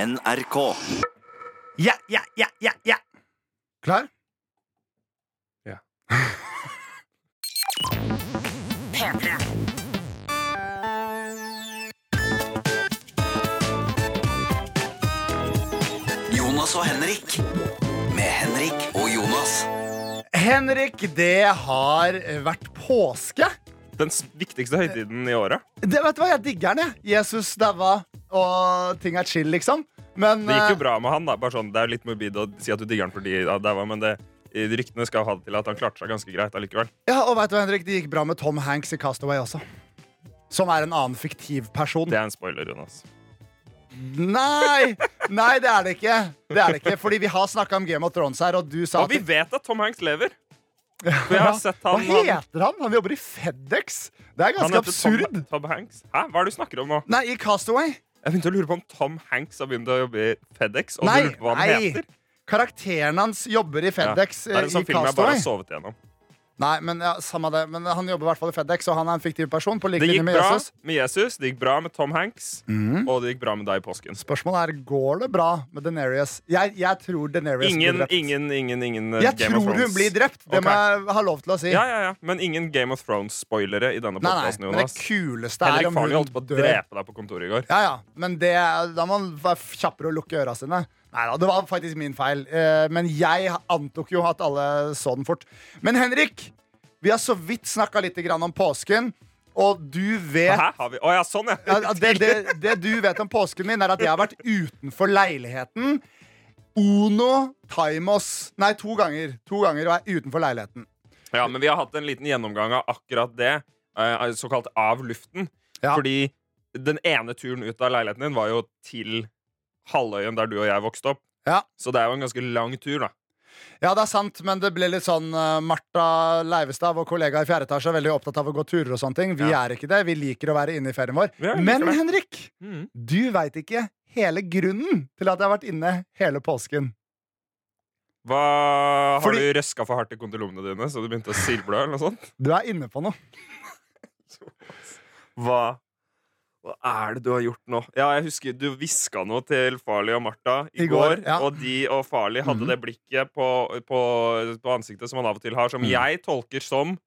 NRK. Ja, ja, ja, ja, ja. Klar? Jonas og Henrik. Med Henrik og Jonas. Henrik, det har vært påske. Den s- viktigste høytiden i året. Det vet du hva, Jeg digger den. jeg Jesus daua, og ting er chill, liksom. Men Det gikk eh, jo bra med han. da Bare sånn, Det er jo litt morbid å si at du digger han fordi han daua, men det, i- ryktene skal ha det til at han klarte seg ganske greit allikevel. eh, Ja, og vet du hva, Henrik, Det gikk bra med Tom Hanks i Castaway også. Som er en annen fiktiv person. Det er en spoiler, Jonas. Nei, nei, det er det ikke. Det er det ikke, Fordi vi har snakka om Game of Thrones her, og du sa Og vi at- vet at Tom Hanks lever! For jeg har sett han Hva Han, heter han? Han jobber i Fedex. Det er han ganske heter absurd. Tom, Tom Hanks. Hæ? Hva er det du snakker om nå? Nei, i Castaway. Jeg begynte å lure på om Tom Hanks har begynt å jobbe i FedEx. Og Nei, du lurte på hva han nei. heter Karakteren hans jobber i Ja, Fedex Det er en eh, i sånn film jeg bare Castaway. har sovet igjennom. Nei, men ja, samme det Men han jobber i hvert fall i Fedex, og han er en fiktiv person. På like Det linje gikk med bra Jesus Mhm. med Jesus, det gikk bra med Tom Hanks, og det gikk bra med deg i påsken. Spørsmålet er går det bra med Denerius. Jeg, jeg tror Denerius blir Ingen, drept. ingen, ingen, ingen eh, jeg Game of tror Thrones. hun blir drept. Det Ok. må jeg ha lov til å si. Ja, ja, ja. Men ingen Game of Thrones-spoilere i denne Nei, nei, podkasten, men det Jonas. kuleste er Henrik om hun Farley holdt på å dør. drepe deg på kontoret i går. Ja, ja, men det, da må man være kjappere og lukke øra sine. Nei da, det var faktisk min feil. Eh, Men jeg antok jo at alle så den fort. Men Henrik, vi har så vidt snakka litt grann om påsken, og du vet Hæ? Har vi? Å ja, sånn, ja. ja, ja, det, det, det du vet om påsken min, er at jeg har vært utenfor leiligheten. Uno timos. Nei, to ganger. To ganger og er utenfor leiligheten. ja. Men vi har hatt en liten gjennomgang av akkurat det, eh, såkalt av luften. Ja. Fordi den ene turen ut av leiligheten din var jo til halvøyen der du og jeg vokste opp. Ja. Så det er jo en ganske lang tur, da. Ja, det er sant, men det ble litt sånn eh, Martha Leivestad, vår kollega i fjerde etasje, er veldig opptatt av å gå turer og sånne ting. Vi Ja. er ikke det. Vi liker å være inne i ferien vår. Ja, jeg liker Men det. Henrik, Mhm. du veit ikke hele grunnen til at jeg har vært inne hele påsken. Hva, har du Fordi- røska for hardt i kondilommene dine, så du begynte å silble? eller noe sånt? Du er inne på noe. Hva? Hva er det du har gjort nå? Ja, jeg husker Du hviska noe til Farley og Martha i, I går, går. ja. Mhm. Og de og Farley hadde det blikket på, på, på ansiktet som han av og til har, som Mhm. jeg tolker som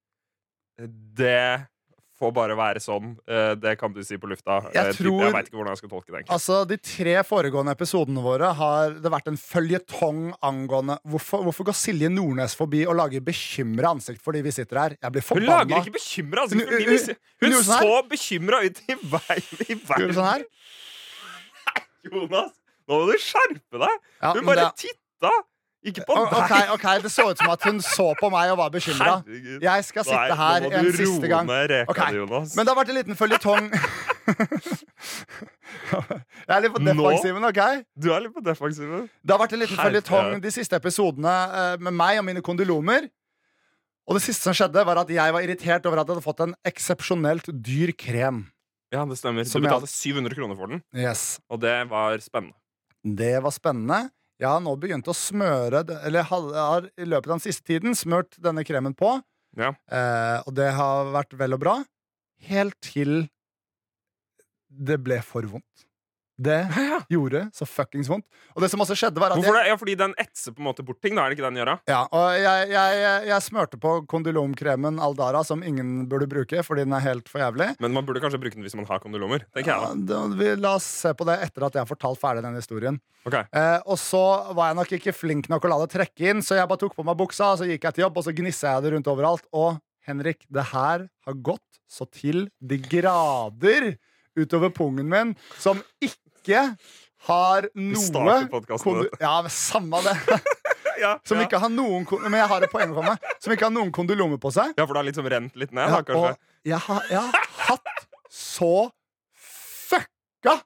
Det får bare være sånn. Eh, Det kan du si på lufta. Jeg Eh, typ- tror- jeg veit ikke hvordan jeg skal tolke det. egentlig. Altså, De tre foregående episodene våre har det vært en føljetong angående Hvorfor, hvorfor går Silje Nordnes forbi og lager bekymra ansikt fordi vi sitter her? Jeg blir Hun forbanna. lager ikke bekymra ansikt. Hun- fordi vi ser- Hun hun gjorde sånn så bekymra ut i veien i Gjør verden. du sånn her? Jonas, nå må du skjerpe deg! Ja, Hun men bare sånn. det- titta! Ikke på O- deg! ok, ok, Det så ut som at hun så på meg og var bekymra. Herregud. Jeg skal sitte her Nei, en siste gang. Nå må du roe ned reka Ok, di, Jonas. Men det har vært en liten føljetong. Jeg er litt på Nå? defensiven, OK? Du er litt på defensiven. Det har vært en liten Herre. føljetong de siste episodene eh, med meg og mine kondylomer. Og det siste som skjedde, var at jeg var irritert over at jeg hadde fått en eksepsjonelt dyr krem. Ja, det stemmer. Som Du jeg- betalte 700 kroner for den, Yes. og det var spennende. Det var spennende. Jeg har nå begynt å smøre det- Eller har, har i løpet av den siste tiden smørt denne kremen på. Ja. Eh, og det har vært vel og bra. Helt til det ble for vondt. Det gjorde så fuckings vondt. Og det som også skjedde, var at Hvorfor jeg, det? Ja, fordi den etser på en måte bort ting, da. Er det ikke det den gjør, da? ja, og jeg, jeg, jeg, jeg smørte på kondylomkremen Aldara, som ingen burde bruke fordi den er helt for jævlig. Men man burde kanskje bruke den hvis man har kondylomer. tenker Ja, jeg da. da, vi, la oss se på det etter at jeg har fortalt ferdig den historien. Ok. Eh, og så var jeg nok ikke flink nok å la det trekke inn, så jeg bare tok på meg buksa, og så gikk jeg til jobb, og så gnissa jeg det rundt overalt. Og Henrik, det her har gått så til de grader utover pungen min, som ikke har noe starter podcasten kon- med Ja, men samme det. Ja, Som ja. ikke har noen kon- Men jeg har et poeng å komme med. Som ikke har noen kondylomer på seg. ja, for det har liksom rent litt ned, da, Ja, kanskje. og jeg har, jeg har hatt så fucka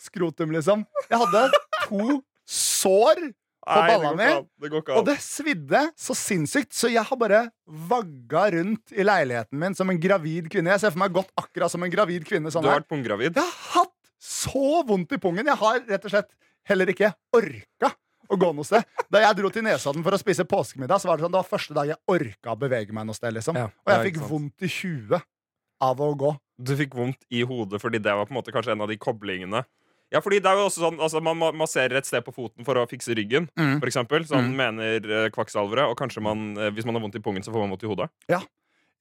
skrotum, liksom. Jeg hadde to sår, på Nei, det går ballene. ikke an. Det går ikke og an. det svidde så sinnssykt, så jeg har bare vagga rundt i leiligheten min som en gravid kvinne. Jeg ser for meg godt akkurat som en gravid kvinne. Sånn Du har her. vært punggravid. Jeg har hatt så vondt i pungen. Jeg har rett og slett heller ikke orka. Å gå noe sted Da jeg dro til Nesodden for å spise påskemiddag, Så var det sånn, det var første dag jeg orka å bevege meg noe sted. liksom Ja, Og ja, jeg fikk ikke sant. vondt i huet av å gå. Du fikk vondt i hodet fordi det var på en måte kanskje en av de koblingene Ja, fordi det er jo også sånn altså, Man ma- masserer et sted på foten for å fikse ryggen, Mm. for eksempel. Sånn mener eh, kvakksalvere. Og kanskje man, eh, hvis man har vondt i pungen, så får man vondt i hodet.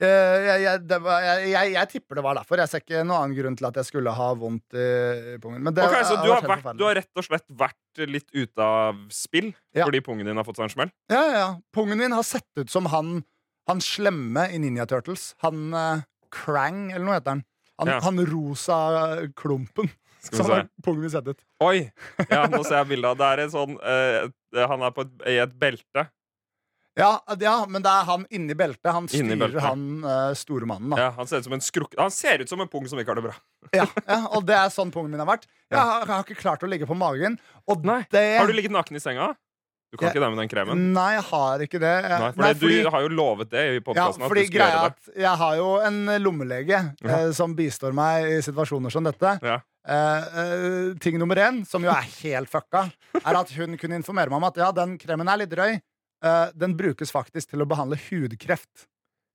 Eh, jeg, jeg, det var, jeg, jeg, jeg tipper det var derfor. Jeg ser ikke noen annen grunn til at jeg skulle ha vondt i i pungen. Men det Ok, Så har du har, helt vært, du har rett og slett vært litt ute av spill Ja. fordi pungen din har fått seg en smell? Ja, ja, ja. Pungen min har sett ut som han, han slemme i Ninja Turtles. Han eh, Krang, eller noe heter han. Han, Ja. han rosa eh, klumpen. Skal vi Sånn se. har pungen min sett ut. Oi! Ja, nå ser jeg bildet av Det er en sånn eh, Han er på et, i et belte. Ja, ja, men det er han inni beltet. Han Inni styrer beltet. han eh, store mannen, da. Ja, han ser ut som en skruk... Han ser ut som en pung som ikke har det bra. Ja. ja, Og det er sånn pungen min har vært. Jeg har, jeg har ikke klart å ligge på magen. Og Nei. det Har du ligget naken i senga? Du kan Ja. ikke det med den kremen. Nei, jeg har ikke det. Jeg- Nei, fordi, nei, fordi- Du har jo lovet det i Ja, podkasten. fordi greia er at jeg har jo en lommelege eh, som bistår meg i situasjoner som dette. Ja. Eh, eh, ting nummer én, som jo er helt fucka, er at hun kunne informere meg om at ja, den kremen er litt drøy. Eh, den brukes faktisk til å behandle hudkreft.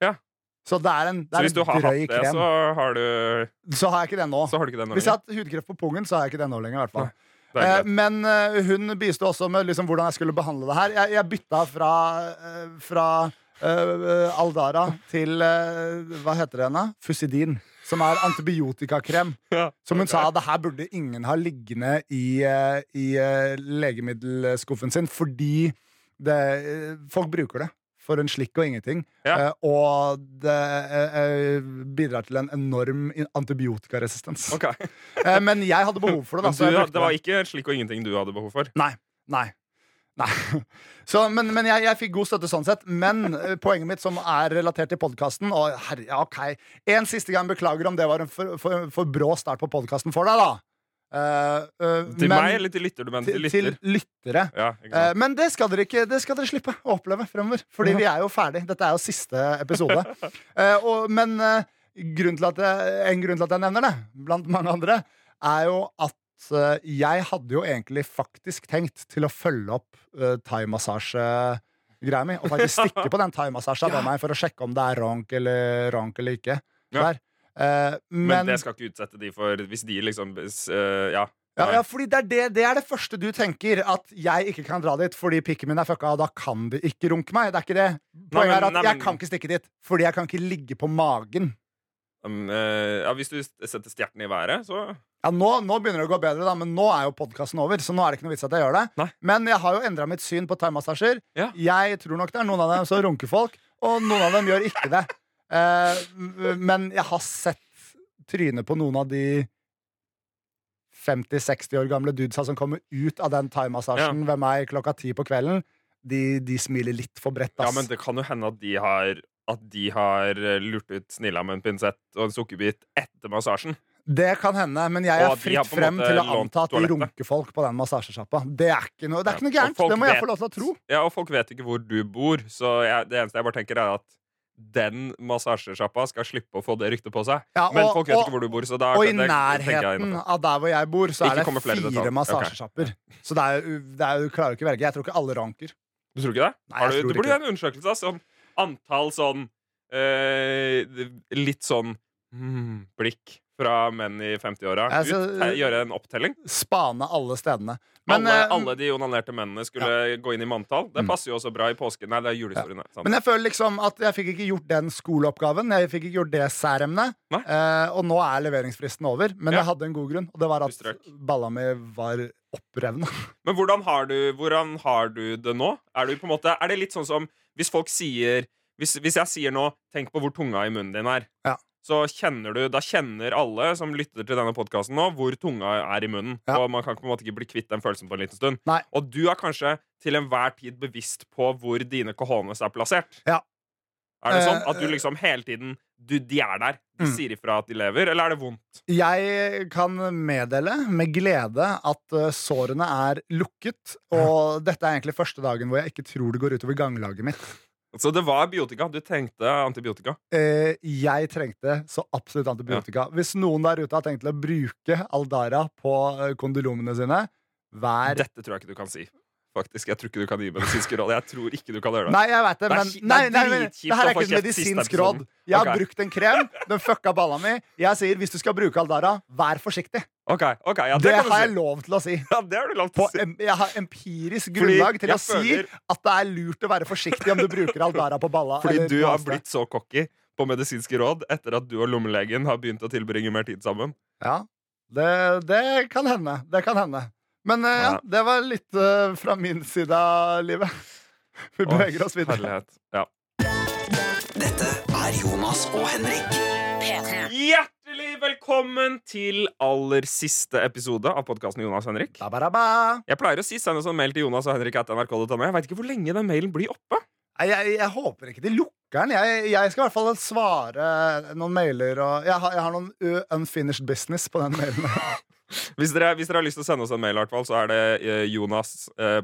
Ja. Så det er en, det Så er hvis en du har hatt drøy det, krem. så har du, Så... har jeg ikke det nå. så har du ikke det nå Hvis lenger. jeg har hatt hudkreft på pungen, så har jeg ikke det nå lenger. i hvert fall Det er Eh, greit. Men eh, hun bistod også med liksom, hvordan jeg skulle behandle det her. Jeg, jeg bytta fra, eh, fra eh, Aldara til eh, Hva heter det henne? Fusidin. Som er antibiotikakrem. Ja, Som hun ok. sa, det her burde ingen ha liggende i, eh, i eh, legemiddelskuffen sin, fordi det, eh, folk bruker det. For en slikk og ingenting. Ja. Eh, og det eh, eh, bidrar til en enorm antibiotikaresistens. Ok. Eh, men jeg hadde behov for det. Men Da, så jeg du, brukte det var ikke slik og ingenting du hadde behov for. Nei. Nei. Nei. Så, men men jeg, jeg fikk god støtte sånn sett. Men eh, poenget mitt, som er relatert til podkasten Og herre, ja, ok. En siste gang beklager om det var en for, for, for brå start på podkasten for deg, da. Eh, eh, Til men- meg eller til lytter? Du mener til til, lytter? til lyttere. Ja, ikke Eh, sant. men det skal, dere ikke, det skal dere slippe å oppleve fremover. Fordi vi er jo ferdig. Dette er jo siste episode. Eh, og, men eh, grunnen til at jeg, en grunn til at jeg nevner det, blant mange andre, er jo at eh, jeg hadde jo egentlig faktisk tenkt til å følge opp uh, thaimassasjegreia mi. Og faktisk stikke på den thaimassasjen av meg for å sjekke om det er rank eller, rank eller ikke. Ja. Der. Eh, men, men, det skal ikke utsette de for Hvis de liksom s- eh, Ja. ja, Nei. ja, fordi det er det, det er det første du tenker, at jeg ikke kan dra dit fordi pikken min er fucka, og da kan de ikke runke meg. Det er ikke det. Poenget men- er at nei, jeg men- kan ikke stikke dit, fordi jeg kan ikke ligge på magen. Um, eh, ja, hvis du s- setter stjerten i været, så Ja, nå, nå begynner det å gå bedre, da, men nå er jo podkasten over. Så nå er det ikke noe vits at jeg gjør det. Nei. Men jeg har jo endra mitt syn på thaimassasjer. Ja. Jeg tror nok det er noen av dem som runker folk, og noen av dem gjør ikke det. Eh, m- men jeg har sett trynet på noen av de 50-60 år gamle dudesa som kommer ut av den thaimassasjen ved meg klokka ti på kvelden. De, de smiler litt for bredt, Ja, ass. men det kan jo hende at de har At de har eh, lurt ut snilla med en pinsett og en sukkerbit etter massasjen. Det kan hende, men Og jeg er at de har fritt på en frem måte til å lånt anta at de toalettet. runker folk på den massasjesjappa. Det er ikke noe, det er ikke noe Ja, og gærent. folk Det må jeg vet- få lov til å tro. Ja, og folk vet ikke hvor du bor, så jeg, det eneste jeg bare tenker, er at den massasjesjappa skal slippe å få det ryktet på seg. Ja, Men og- folk vet og- ikke hvor du bor, så da Og i det- det tenker jeg er nærheten innenfor. av der hvor jeg bor, så Ikke er kommer det flere fire detaljer. massasjesjapper. Så det er, jo- det er, jo- du klarer jo ikke å velge. Jeg tror ikke alle ranker. Du tror ikke det? Nei, Har jeg du, tror det burde ikke gjøre en undersøkelse ass, om antall sånn eh, Litt sånn hmm, blikk fra menn i 50-åra. Jeg skal- Ut, her- Gjøre en opptelling. Spane alle stedene. Men, alle, eh, alle de onanerte mennene skulle gå inn i manntall. Det Mm. passer jo også bra i påsken. Nei, det er julehistoriene. sant? men jeg føler liksom at jeg fikk ikke gjort den skoleoppgaven. Jeg fikk ikke gjort det særemnet. Nei. Eh, og nå er leveringsfristen over. Men Ja. jeg hadde en god grunn, og det var Du at strøk. balla mi var opprevna. Men hvordan har, du, hvordan har du det nå? Er, du på en måte, er det litt sånn som hvis folk sier hvis, hvis jeg sier nå 'tenk på hvor tunga i munnen din er', Ja. så kjenner du Da kjenner alle som lytter til denne podkasten nå, hvor tunga er i munnen. Ja. Og man kan på en måte ikke bli kvitt den følelsen på en liten stund. Nei. Og du er kanskje til enhver tid bevisst på hvor dine cojones er plassert. Ja. Er det sånn Eh, at du liksom hele tiden du, De er der. De Mm. sier ifra at de lever, eller er det vondt? Jeg kan meddele med glede at eh, sårene er lukket. Og dette er egentlig første dagen hvor jeg ikke tror det går utover ganglaget mitt. Så det var biotika. Du tenkte antibiotika. Eh, jeg trengte så absolutt antibiotika. Hvis noen der ute har tenkt til å bruke Aldara på eh, kondomene sine, vær Dette tror jeg ikke du kan si. Faktisk, Jeg tror ikke du kan gi medisinske råd. Jeg tror ikke du kan gjøre det. Nei, jeg vet det, Det er men ki- nei, det er nei, men dritkjipt det her å er få ikke et kjeft siste medisinsk episoden. råd. Jeg har Ok. brukt en krem, den fucka balla mi. Jeg sier hvis du skal bruke Aldara, vær forsiktig. OK. ok, ja, det Det, kan du har jeg si. lov til å si. Ja, det har du lov til På å si. em jeg har empirisk Fordi grunnlag til jeg å si føler- at det er lurt å være forsiktig om du bruker Aldara på balla. Fordi eller du noe har annet sted. blitt så cocky på medisinske råd etter at du og lommelegen har begynt å tilbringe mer tid sammen. Ja, det, det kan hende. Det kan hende. Men eh, ja, Ja. det var litt eh, fra min side av livet. Vi Åh, beveger oss videre. Herlighet. Ja. Dette er Jonas og Henrik. P3. Hjertelig velkommen til aller siste episode av podkasten Jonas og Henrik. Ba, ba, da, ba. Jeg pleier å si send oss en mail til Jonas og Henrik at nrk.no. Jeg veit ikke hvor lenge den mailen blir oppe. Nei, jeg, jeg håper ikke de lukker den. Jeg, jeg skal i hvert fall svare noen mailer og Jeg har, jeg har noen u- unfinished business på den mailen. Hvis dere, hvis dere har lyst til å sende oss en mail, i hvert fall, så er det eh,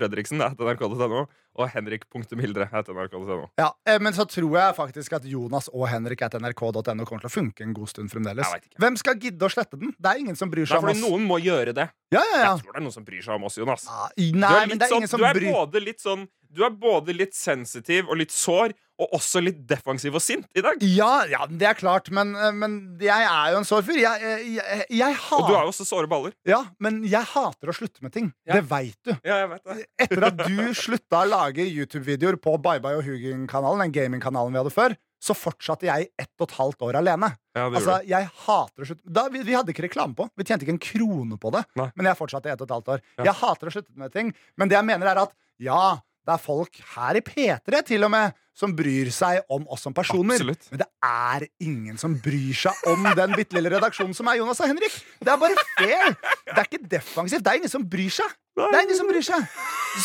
jonas.liaug.fredriksen.nrk.no og henrik.hildre.nrk.no. ja, eh, men så tror jeg faktisk at Jonas og Henrik at nrk.no kommer til å funke en god stund fremdeles. Jeg vet ikke. Hvem skal gidde å slette den? Det er ingen som bryr Det seg er om fordi oss. noen må gjøre det. Ja, ja, ja. Jeg tror det er noen som bryr seg om oss, Jonas. Ah, Du Nei, er, men litt det er sånn, ingen som du er bryr både litt sånn Du er både litt sensitiv og litt sår, og også litt defensiv og sint i dag. Ja, ja, det er klart, men, eh, men jeg er jo en sår fyr. Jeg, eh, jeg, jeg, jeg Og du hater har jo også såre baller. Ja, men jeg hater å slutte med ting. Ja. Det veit du. Ja, jeg vet det. Etter at du slutta å lage YouTube-videoer på Bye Bye og Hugin-kanalen, den gaming-kanalen vi hadde før, så fortsatte jeg i ett og et halvt år alene. Ja, det Altså, gjorde du. jeg hater å slutte da, vi, vi hadde ikke reklame på. Vi tjente ikke en krone på det. Nei. Men jeg fortsatte i ett og et halvt år. Ja. Jeg hater å slutte med ting. Men det jeg mener, er at ja, det er folk her i P3 til og med som bryr seg om oss som personer. Absolutt. Men det er ingen som bryr seg om den bitte lille redaksjonen som er Jonas og Henrik. Det er bare fair. Det er ikke defensivt. Det er ingen som bryr seg. Det er ingen som bryr seg.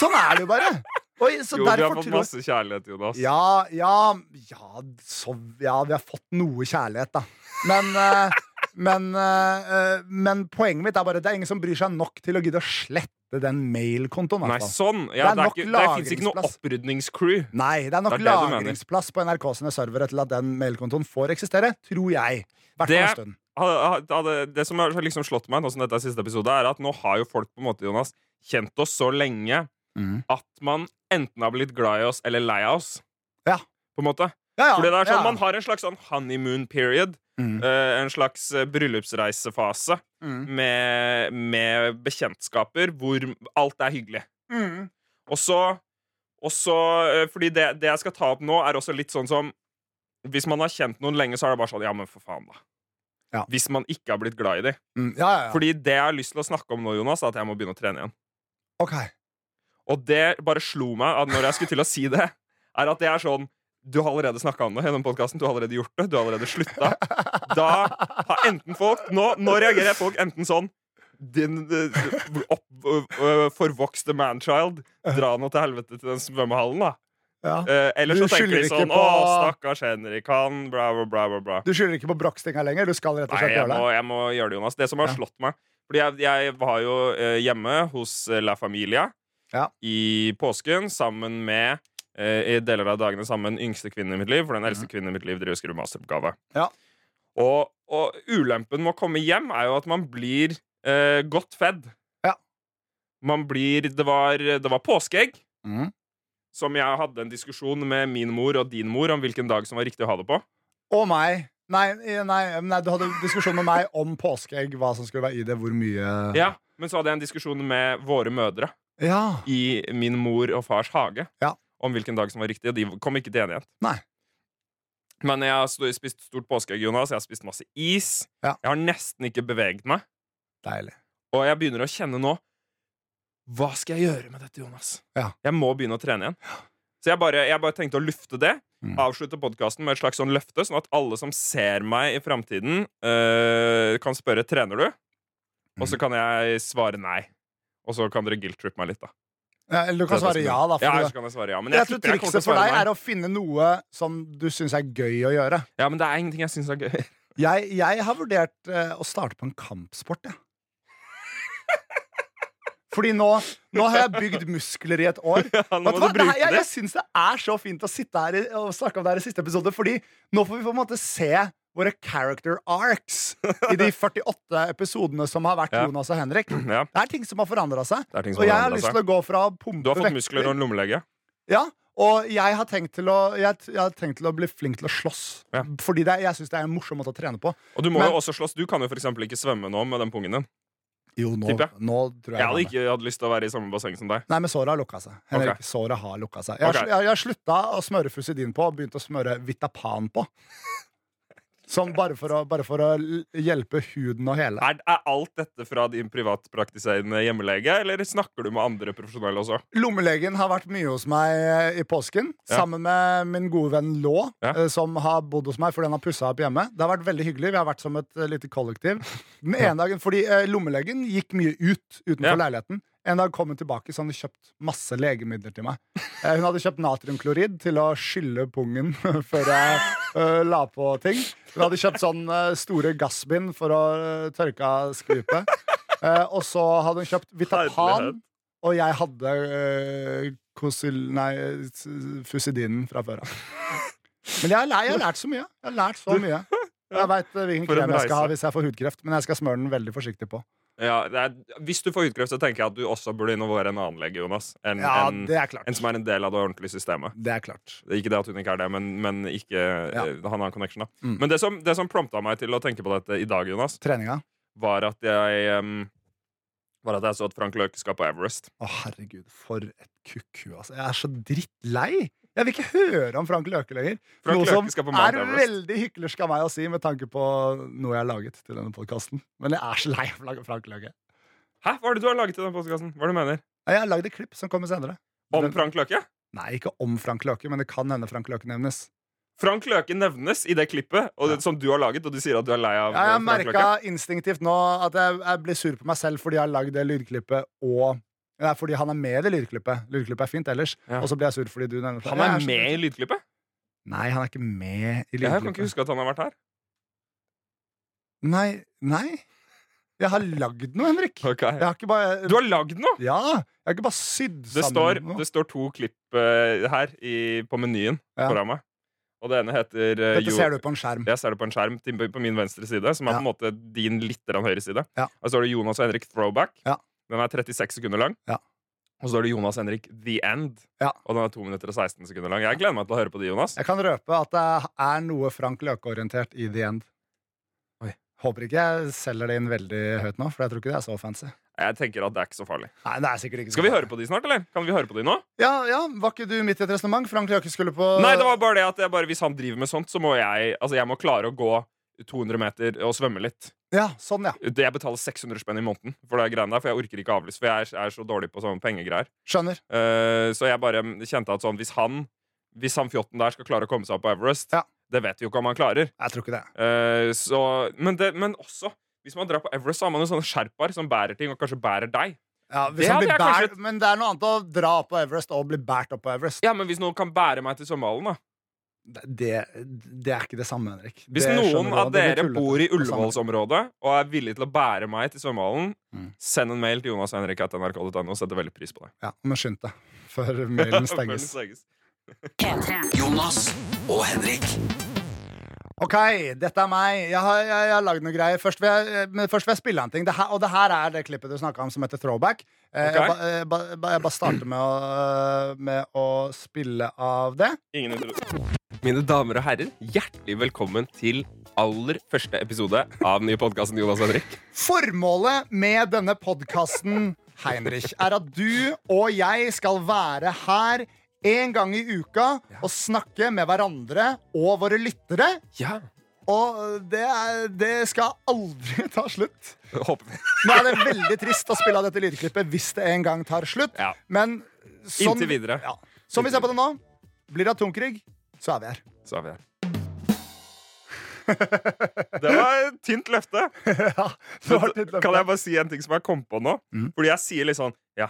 Sånn er det jo bare. Og så Jo, vi derfor har fått tror jeg- masse kjærlighet, Jonas. ja, ja, ja, så, ja, vi har fått noe kjærlighet, da. Men, eh, men, eh, eh, men poenget mitt er bare at det er ingen som bryr seg nok til å gidde å slette den mailkontoen. Nei, altså. sånn. Ja, Det er det er nok ikke- det fins ikke noe lagringsplass. opprydningscrew. Nei, det er nok Det er det du mener. lagringsplass på NRK sine servere til at den mailkontoen får eksistere, tror jeg. Hvert fall Det- en stund. hadde, hadde, det som har liksom slått meg nå som dette er siste episode, er at nå har jo folk på en måte, Jonas, kjent oss så lenge Mhm. at man enten har blitt glad i oss eller lei av oss. Ja. På en måte. Ja, ja, Fordi det er sånn, ja. Man har en slags sånn honeymoon period. Mhm. eh, en slags eh, bryllupsreisefase Mhm. med, med bekjentskaper hvor alt er hyggelig. Mhm. Og så, og så eh, Fordi det, det jeg skal ta opp nå, er også litt sånn som Hvis man har kjent noen lenge, så er det bare sånn Ja, men for faen, da. Ja. Hvis man ikke har blitt glad i dem. Mm, ja, ja, ja. Fordi det jeg har lyst til å snakke om nå, Jonas, er at jeg må begynne å trene igjen. Ok. Og det bare slo meg at når jeg skulle til å si det, er at det er sånn Du har allerede snakka om det gjennom podkasten. Du har allerede gjort det. Du har allerede slutta. Da har enten folk Nå, nå reagerer folk enten sånn din eh, opp, eh, forvokste manchild, dra nå til helvete til den svømmehallen, da. Ja. Eh, eller Du så tenker skylder de ikke sånn på- Å, stakkars Henrik, han bla, bla, bla, bla, bla. Du skylder ikke på brakstinga lenger. Du skal rett og Nei, slett jeg gjøre må, det. jeg må gjøre det, Jonas. Det som har Ja. slått meg Fordi jeg, jeg var jo eh, hjemme hos eh, La Familia Ja. i påsken sammen med eh, i deler av dagene sammen med den yngste kvinnen i mitt liv, for den eldste kvinnen i mitt liv driver og skriver masteroppgave. Mhm. Ja. Og, og ulempen med å komme hjem er jo at man blir eh, godt fedd. Ja. Man blir Det var, det var påskeegg. Mhm. Som jeg hadde en diskusjon med min mor og din mor om hvilken dag som var riktig å ha det på. Og meg. Nei, eh, nei, nei, du hadde diskusjon med meg om påskeegg, hva som skulle være i det, hvor mye Ja, Men så hadde jeg en diskusjon med våre mødre. Ja. i min mor og fars hage Ja. om hvilken dag som var riktig, og de kom ikke til enighet. Nei. Men jeg har st- spist stort påskeegg, Jonas. Jeg har spist masse is. Ja. Jeg har nesten ikke beveget meg. Deilig. Og jeg begynner å kjenne nå Hva skal jeg gjøre med dette, Jonas? Ja. Jeg må begynne å trene igjen. Så jeg bare, jeg bare tenkte å lufte det. Mm. Avslutte podkasten med et slags sånn løfte, sånn at alle som ser meg i framtiden, øh, kan spørre trener du? Og så Mm. kan jeg svare nei. Og så kan dere guilt-trippe meg litt, da. Ja, eller du kan svare ja, da. For Ja, du- så kan jeg svare ja. Men jeg, jeg tror tipper jeg kommer til trikset å for svare deg nei. er å finne noe som du syns er gøy å gjøre. Ja, men det er ingenting jeg syns er gøy. Jeg, jeg har vurdert eh, å starte på en kampsport, jeg. Fordi nå, nå har jeg bygd muskler i et år. Nå må du Vet du hva? Det her, bruke jeg det. jeg syns det er så fint å sitte her i- og snakke om det her i siste episode, fordi nå får vi på en måte se våre character arcs i de 48 episodene som har vært Ja. Jonas og Henrik. Det Ja, er ting som har forandra seg. det er altså. ting Og som jeg har har forandret lyst seg. til å gå fra å pumpe Du har fått muskler og en lommelege. Ja, og jeg har tenkt til å, jeg, jeg har tenkt til å bli flink til å slåss. Ja. Fordi det, jeg syns det er en morsom måte å trene på. Og du må Men- jo også slåss. Du kan jo for eksempel ikke svømme nå med den pungen din. Jo, nå, Tipper jeg. nå tror jeg Jeg hadde jeg ikke hatt lyst til å være i samme basseng som deg. Nei, men såret har lukka seg. Henrik, Ok. såret har lukka seg. Jeg, har Ok. sl- jeg, jeg har slutta å smøre Fusidin på og begynt å smøre Vitapan på. Som bare for å, bare for å l- hjelpe huden og hele. Er, er alt dette fra din privatpraktiserende hjemmelege, eller snakker du med andre profesjonelle også? Lommelegen har vært mye hos meg eh, i påsken. Ja. Sammen med min gode venn Lå, Ja. eh, som har bodd hos meg fordi han har pussa opp hjemme. Det har vært veldig hyggelig. Vi har vært som et eh, lite kollektiv. Den ene dagen, fordi eh, Lommelegen gikk mye ut utenfor Ja. leiligheten. En dag kom hun tilbake, så han hadde kjøpt masse legemidler til meg. Eh, Hun hadde kjøpt natriumklorid til å skylle pungen før jeg eh, la på ting. Hun hadde kjøpt sånn eh, store gassbind for å eh, tørke av skvipet. Eh, og så hadde hun kjøpt Vitapan. Herlighet. Og jeg hadde uh, kosil... Nei, s- fusidinen fra før av. Men jeg har, lært, jeg har lært så mye. Jeg har lært så mye. Jeg veit hvilken For en krem jeg skal ha reise. hvis jeg får hudkreft, men jeg skal smøre den veldig forsiktig på. Ja, det er, hvis du får hudkreft, så tenker jeg at du også burde involvere en annen lege, Jonas. En, Ja, en, det er klart. en som er en del av det ordentlige systemet. Det er klart. Det er Ikke det at hun ikke er det, men, men ikke, eh, han har en connection. da Mm. Men det som, det som prompta meg til å tenke på dette i dag, Jonas, Treninga? var at jeg em, Var at jeg så at Frank Løke skal på Everest. Å, herregud, for et kukkhue, altså. Jeg er så drittlei! Jeg vil ikke høre om Frank Løke lenger. Frank noe Løke som skal på Mount er Everest. veldig hyklersk av meg å si med tanke på noe jeg har laget til denne podkasten. Men jeg er så lei av Frank Løke. Hæ? Hva er det du har laget i den postkassen? Hva er det du mener? Jeg har lagd et klipp som kommer senere. Om Den- Frank Løke? Nei, ikke om Frank Løke, men det kan hende Frank Løke nevnes. Frank Løke nevnes i det klippet og det, som du har laget, og du sier at du er lei av Ja, jeg eh, Frank merka Løke. instinktivt nå at jeg, jeg blir sur på meg selv fordi jeg har lagd det lydklippet og Nei, fordi han er med i det lydklippet. Lydklippet er fint ellers. Ja. Og så blir jeg sur fordi du nevner Han Jeg er så- med i lydklippet? Nei, han er ikke med Jeg kan i ikke lydklippet. huske at han har vært her. Nei, nei. Jeg har lagd noe, Henrik. Ok. Jeg har ikke bare Du har lagd noe! Ja! Jeg har ikke bare sydd Det sammen står, noe. det står to klipp eh, her i, på menyen Ja. foran meg. Og det ene heter eh, Dette ser du på en skjerm. Jeg ser det på en skjerm til, på min venstre side, som er Mm. Ja. på en måte din litt grann høyre side. Ja. Og så står det Jonas og Henrik Throwback. Ja. Den er 36 sekunder lang. Ja. Og så står det Jonas og Henrik The End, Ja. og den er 2 minutter og 16 sekunder lang. Jeg gleder meg til å høre på de, Jonas. Jeg kan røpe at det er noe Frank Løke-orientert i The End. Oi. Håper ikke jeg selger det inn veldig høyt nå, for jeg tror ikke det er så fancy. Jeg tenker at det er ikke så farlig. Nei, det er sikkert ikke så Skal vi farlig. høre på de snart, eller? Kan vi høre på de nå? Ja, ja, Var ikke du midt i et resonnement? Frank Løke skulle på Nei, det var bare det at jeg bare, hvis han driver med sånt, så må jeg, altså jeg må klare å gå 200 meter og svømme litt. Ja, sånn, ja. Det jeg betaler 600 spenn i måneden for det greiene der, for jeg orker ikke avlyse, for jeg er, er så dårlig på sånne pengegreier. Skjønner. Eh, så jeg bare kjente at sånn, hvis han Hvis han fjotten der skal klare å komme seg opp på Everest Ja. Det vet vi jo ikke om han klarer. Jeg tror ikke det. Eh, så, men, det, men også hvis man drar på Everest, så har man jo sånne sherpaer som bærer ting, og kanskje bærer deg. Ja, hvis Det han hadde blir jeg kanskje- bært, men det er noe annet å dra på Everest og bli båret opp på Everest. Ja, men hvis noen kan bære meg til svømmehallen, da. Det, det, det er ikke det samme, Henrik. Hvis Det skjønner noen du av at det blir dere tullete. bor i Og samme- Ullevålsområdet og er villig til å bære meg til svømmehallen, Mm. send en mail til Jonas og Henrik at nrk.no. Setter veldig pris på det. Ja, men skynd deg, før mailen Før den stenges. stenges. Jonas og Henrik. Ok, dette er meg. Jeg har, jeg, jeg har lagd noen greier. Først vil jeg, men først vil jeg spille en ting. Det her, og det her er det klippet du snakka om som heter Throwback. Ok. Eh, Jeg, ba, jeg, ba, jeg ba- jeg bare starter med å, eh, med å spille av det. Ingen intro. Mine damer og herrer, hjertelig velkommen til aller første episode av den nye podkasten Jonas og Henrik. Formålet med denne podkasten, Heinrich, er at du og jeg skal være her en gang i uka og snakke med hverandre og våre lyttere. Ja. Og det, er, det skal aldri ta slutt. Håper vi. Nå er det veldig trist å spille av dette lydklippet hvis det en gang tar slutt. Ja. Men sånn, Inntil videre. Ja. Som vi ser på det nå, blir det atomkrig, så er vi her. Så er vi her. Det var et tynt løfte. Kan jeg bare si en ting som jeg kom på nå? Fordi jeg sier litt sånn Ja,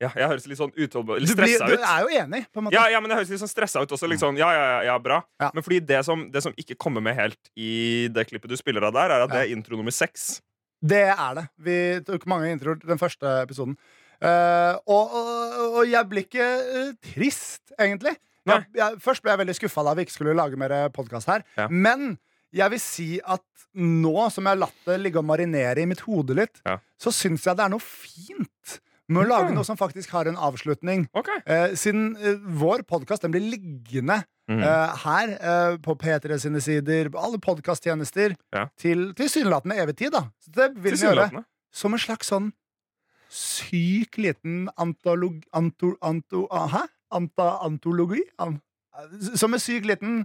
ja jeg høres litt sånn utålmodig Mm. du, Litt blir, stressa du ut. er jo enig, på en måte. Ja, ja, men jeg høres litt sånn stressa ut også. Litt sånn, ja, ja, ja, ja, bra. Ja. Men fordi det som, det som ikke kommer med helt i det klippet du spiller av der, er at det er intro nummer seks. Det er det. Vi tok mange introer til den første episoden. Eh, og, og, og jeg blir ikke eh, trist, egentlig. Nei. Jeg, jeg, først ble jeg veldig skuffa da vi ikke skulle lage mer podkast her. Ja. Men jeg vil si at nå som jeg har latt det ligge og marinere i mitt hode litt, Ja. Mm. så syns jeg det er noe fint med å lage noe som faktisk har en avslutning. Ok. Eh, siden eh, vår podkast blir liggende Mm. eh, her eh, på P3 sine sider, på alle podkasttjenester, Ja. til tilsynelatende evig tid, da. Så det vil vi gjøre. Tilsynelatende. Som en slags sånn syk liten antolog... Anto... anto ah, hæ? Anta, antologi? An, eh, som en syk liten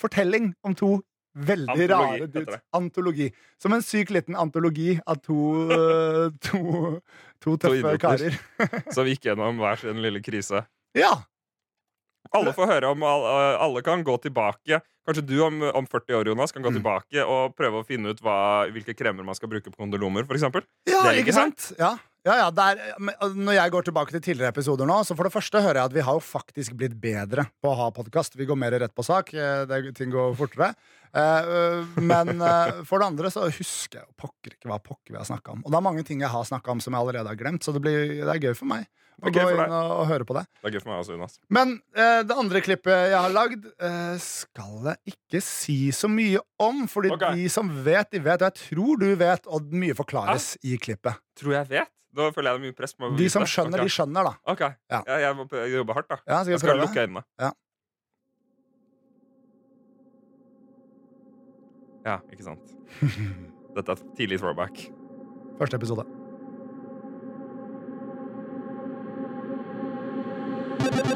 fortelling om to veldig Antologi, rare heter dudes. det. Antologi. Som en syk liten antologi av to eh, To, to tøffe idioter. karer. Som gikk gjennom hver sin lille krise. Ja! Alle får høre om all- eh, Alle kan gå tilbake. Kanskje du om, om 40 år Jonas, kan gå Mm. tilbake og prøve å finne ut hva, hvilke kremer man skal bruke på kondomer. For eksempel. Ja, Det ligger ikke sant? Ja. Ja, ja, det er- men, og når jeg går tilbake til tidligere episoder nå, så for det første hører jeg at vi har jo faktisk blitt bedre på å ha podkast. Vi går mer rett på sak. eh, Det, ting går fortere. Eh, øh, men eh, for det andre så husker jeg jo pokker ikke hva pokker vi har snakka om. Og det er mange ting jeg har snakka om som jeg allerede har glemt, så det, blir, det er gøy for meg å Det er gøy gå for deg. inn og, og høre på det. Det er gøy for meg også, Jonas. Men eh, det andre klippet jeg har lagd, eh, skal jeg ikke si så mye om. Fordi Ok. de som vet, de vet. Og jeg tror du vet, og mye forklares i klippet. Tror jeg vet. Da føler jeg det er mye press på meg. å De vite som det. skjønner, Ok. de skjønner, da. Ok, Ja. jeg, jeg må prø- jobbe hardt da Ja, skal Jeg jeg skal prøve? lukke øynene Ja. Ja, ikke sant Dette er tidlig throwback Første episode.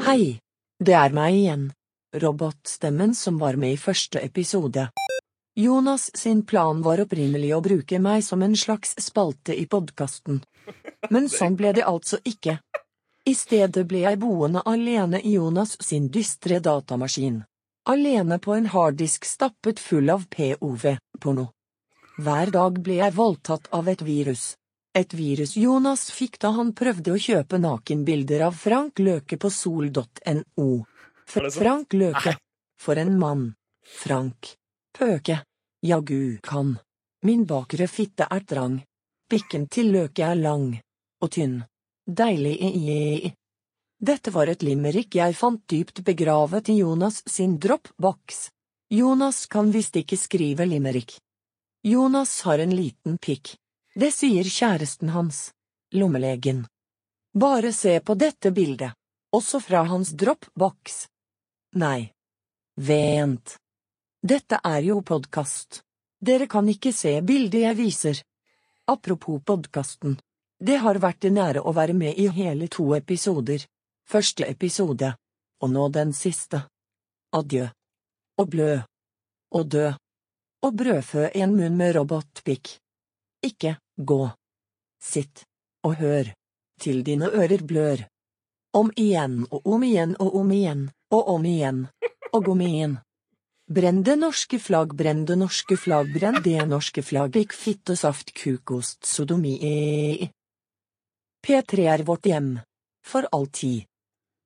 Hei. Det er meg igjen. Robotstemmen som var med i første episode. Jonas sin plan var opprinnelig å bruke meg som en slags spalte i podkasten. Men sånn ble det altså ikke. I stedet ble jeg boende alene i Jonas sin dystre datamaskin. Alene på en harddisk stappet full av POV-porno. Hver dag ble jeg voldtatt av et virus. Et virus Jonas fikk da han prøvde å kjøpe nakenbilder av Frank Løke på sol.no. Er det sant? Frank Løke. For en mann. Frank. Pøke. Jagu kan. Min bakre fitte er trang. Bikken til Løke er lang. Og tynn. Deilig i-i-i. Dette var et limerick jeg fant dypt begravet i Jonas sin dropbox. Jonas kan visst ikke skrive limerick. Jonas har en liten pikk. Det sier kjæresten hans. Lommelegen. Bare se på dette bildet. Også fra hans dropbox. Nei. Vent. Dette er jo podkast. Dere kan ikke se bildet jeg viser. Apropos podkasten. Det har vært en ære å være med i hele to episoder. Første episode. Og nå den siste. Adjø. Å blø. Å dø. Å brødfø en munn med robotpikk. Ikke gå. Sitt. Og hør. Til dine ører blør. Om igjen og om igjen og om igjen og om igjen og om igjen. Brenn det norske flagg, brenn det norske flagg, brenn det norske flagg, ikke fitte, saft, kukost, sodomi P3 er vårt hjem. For alltid.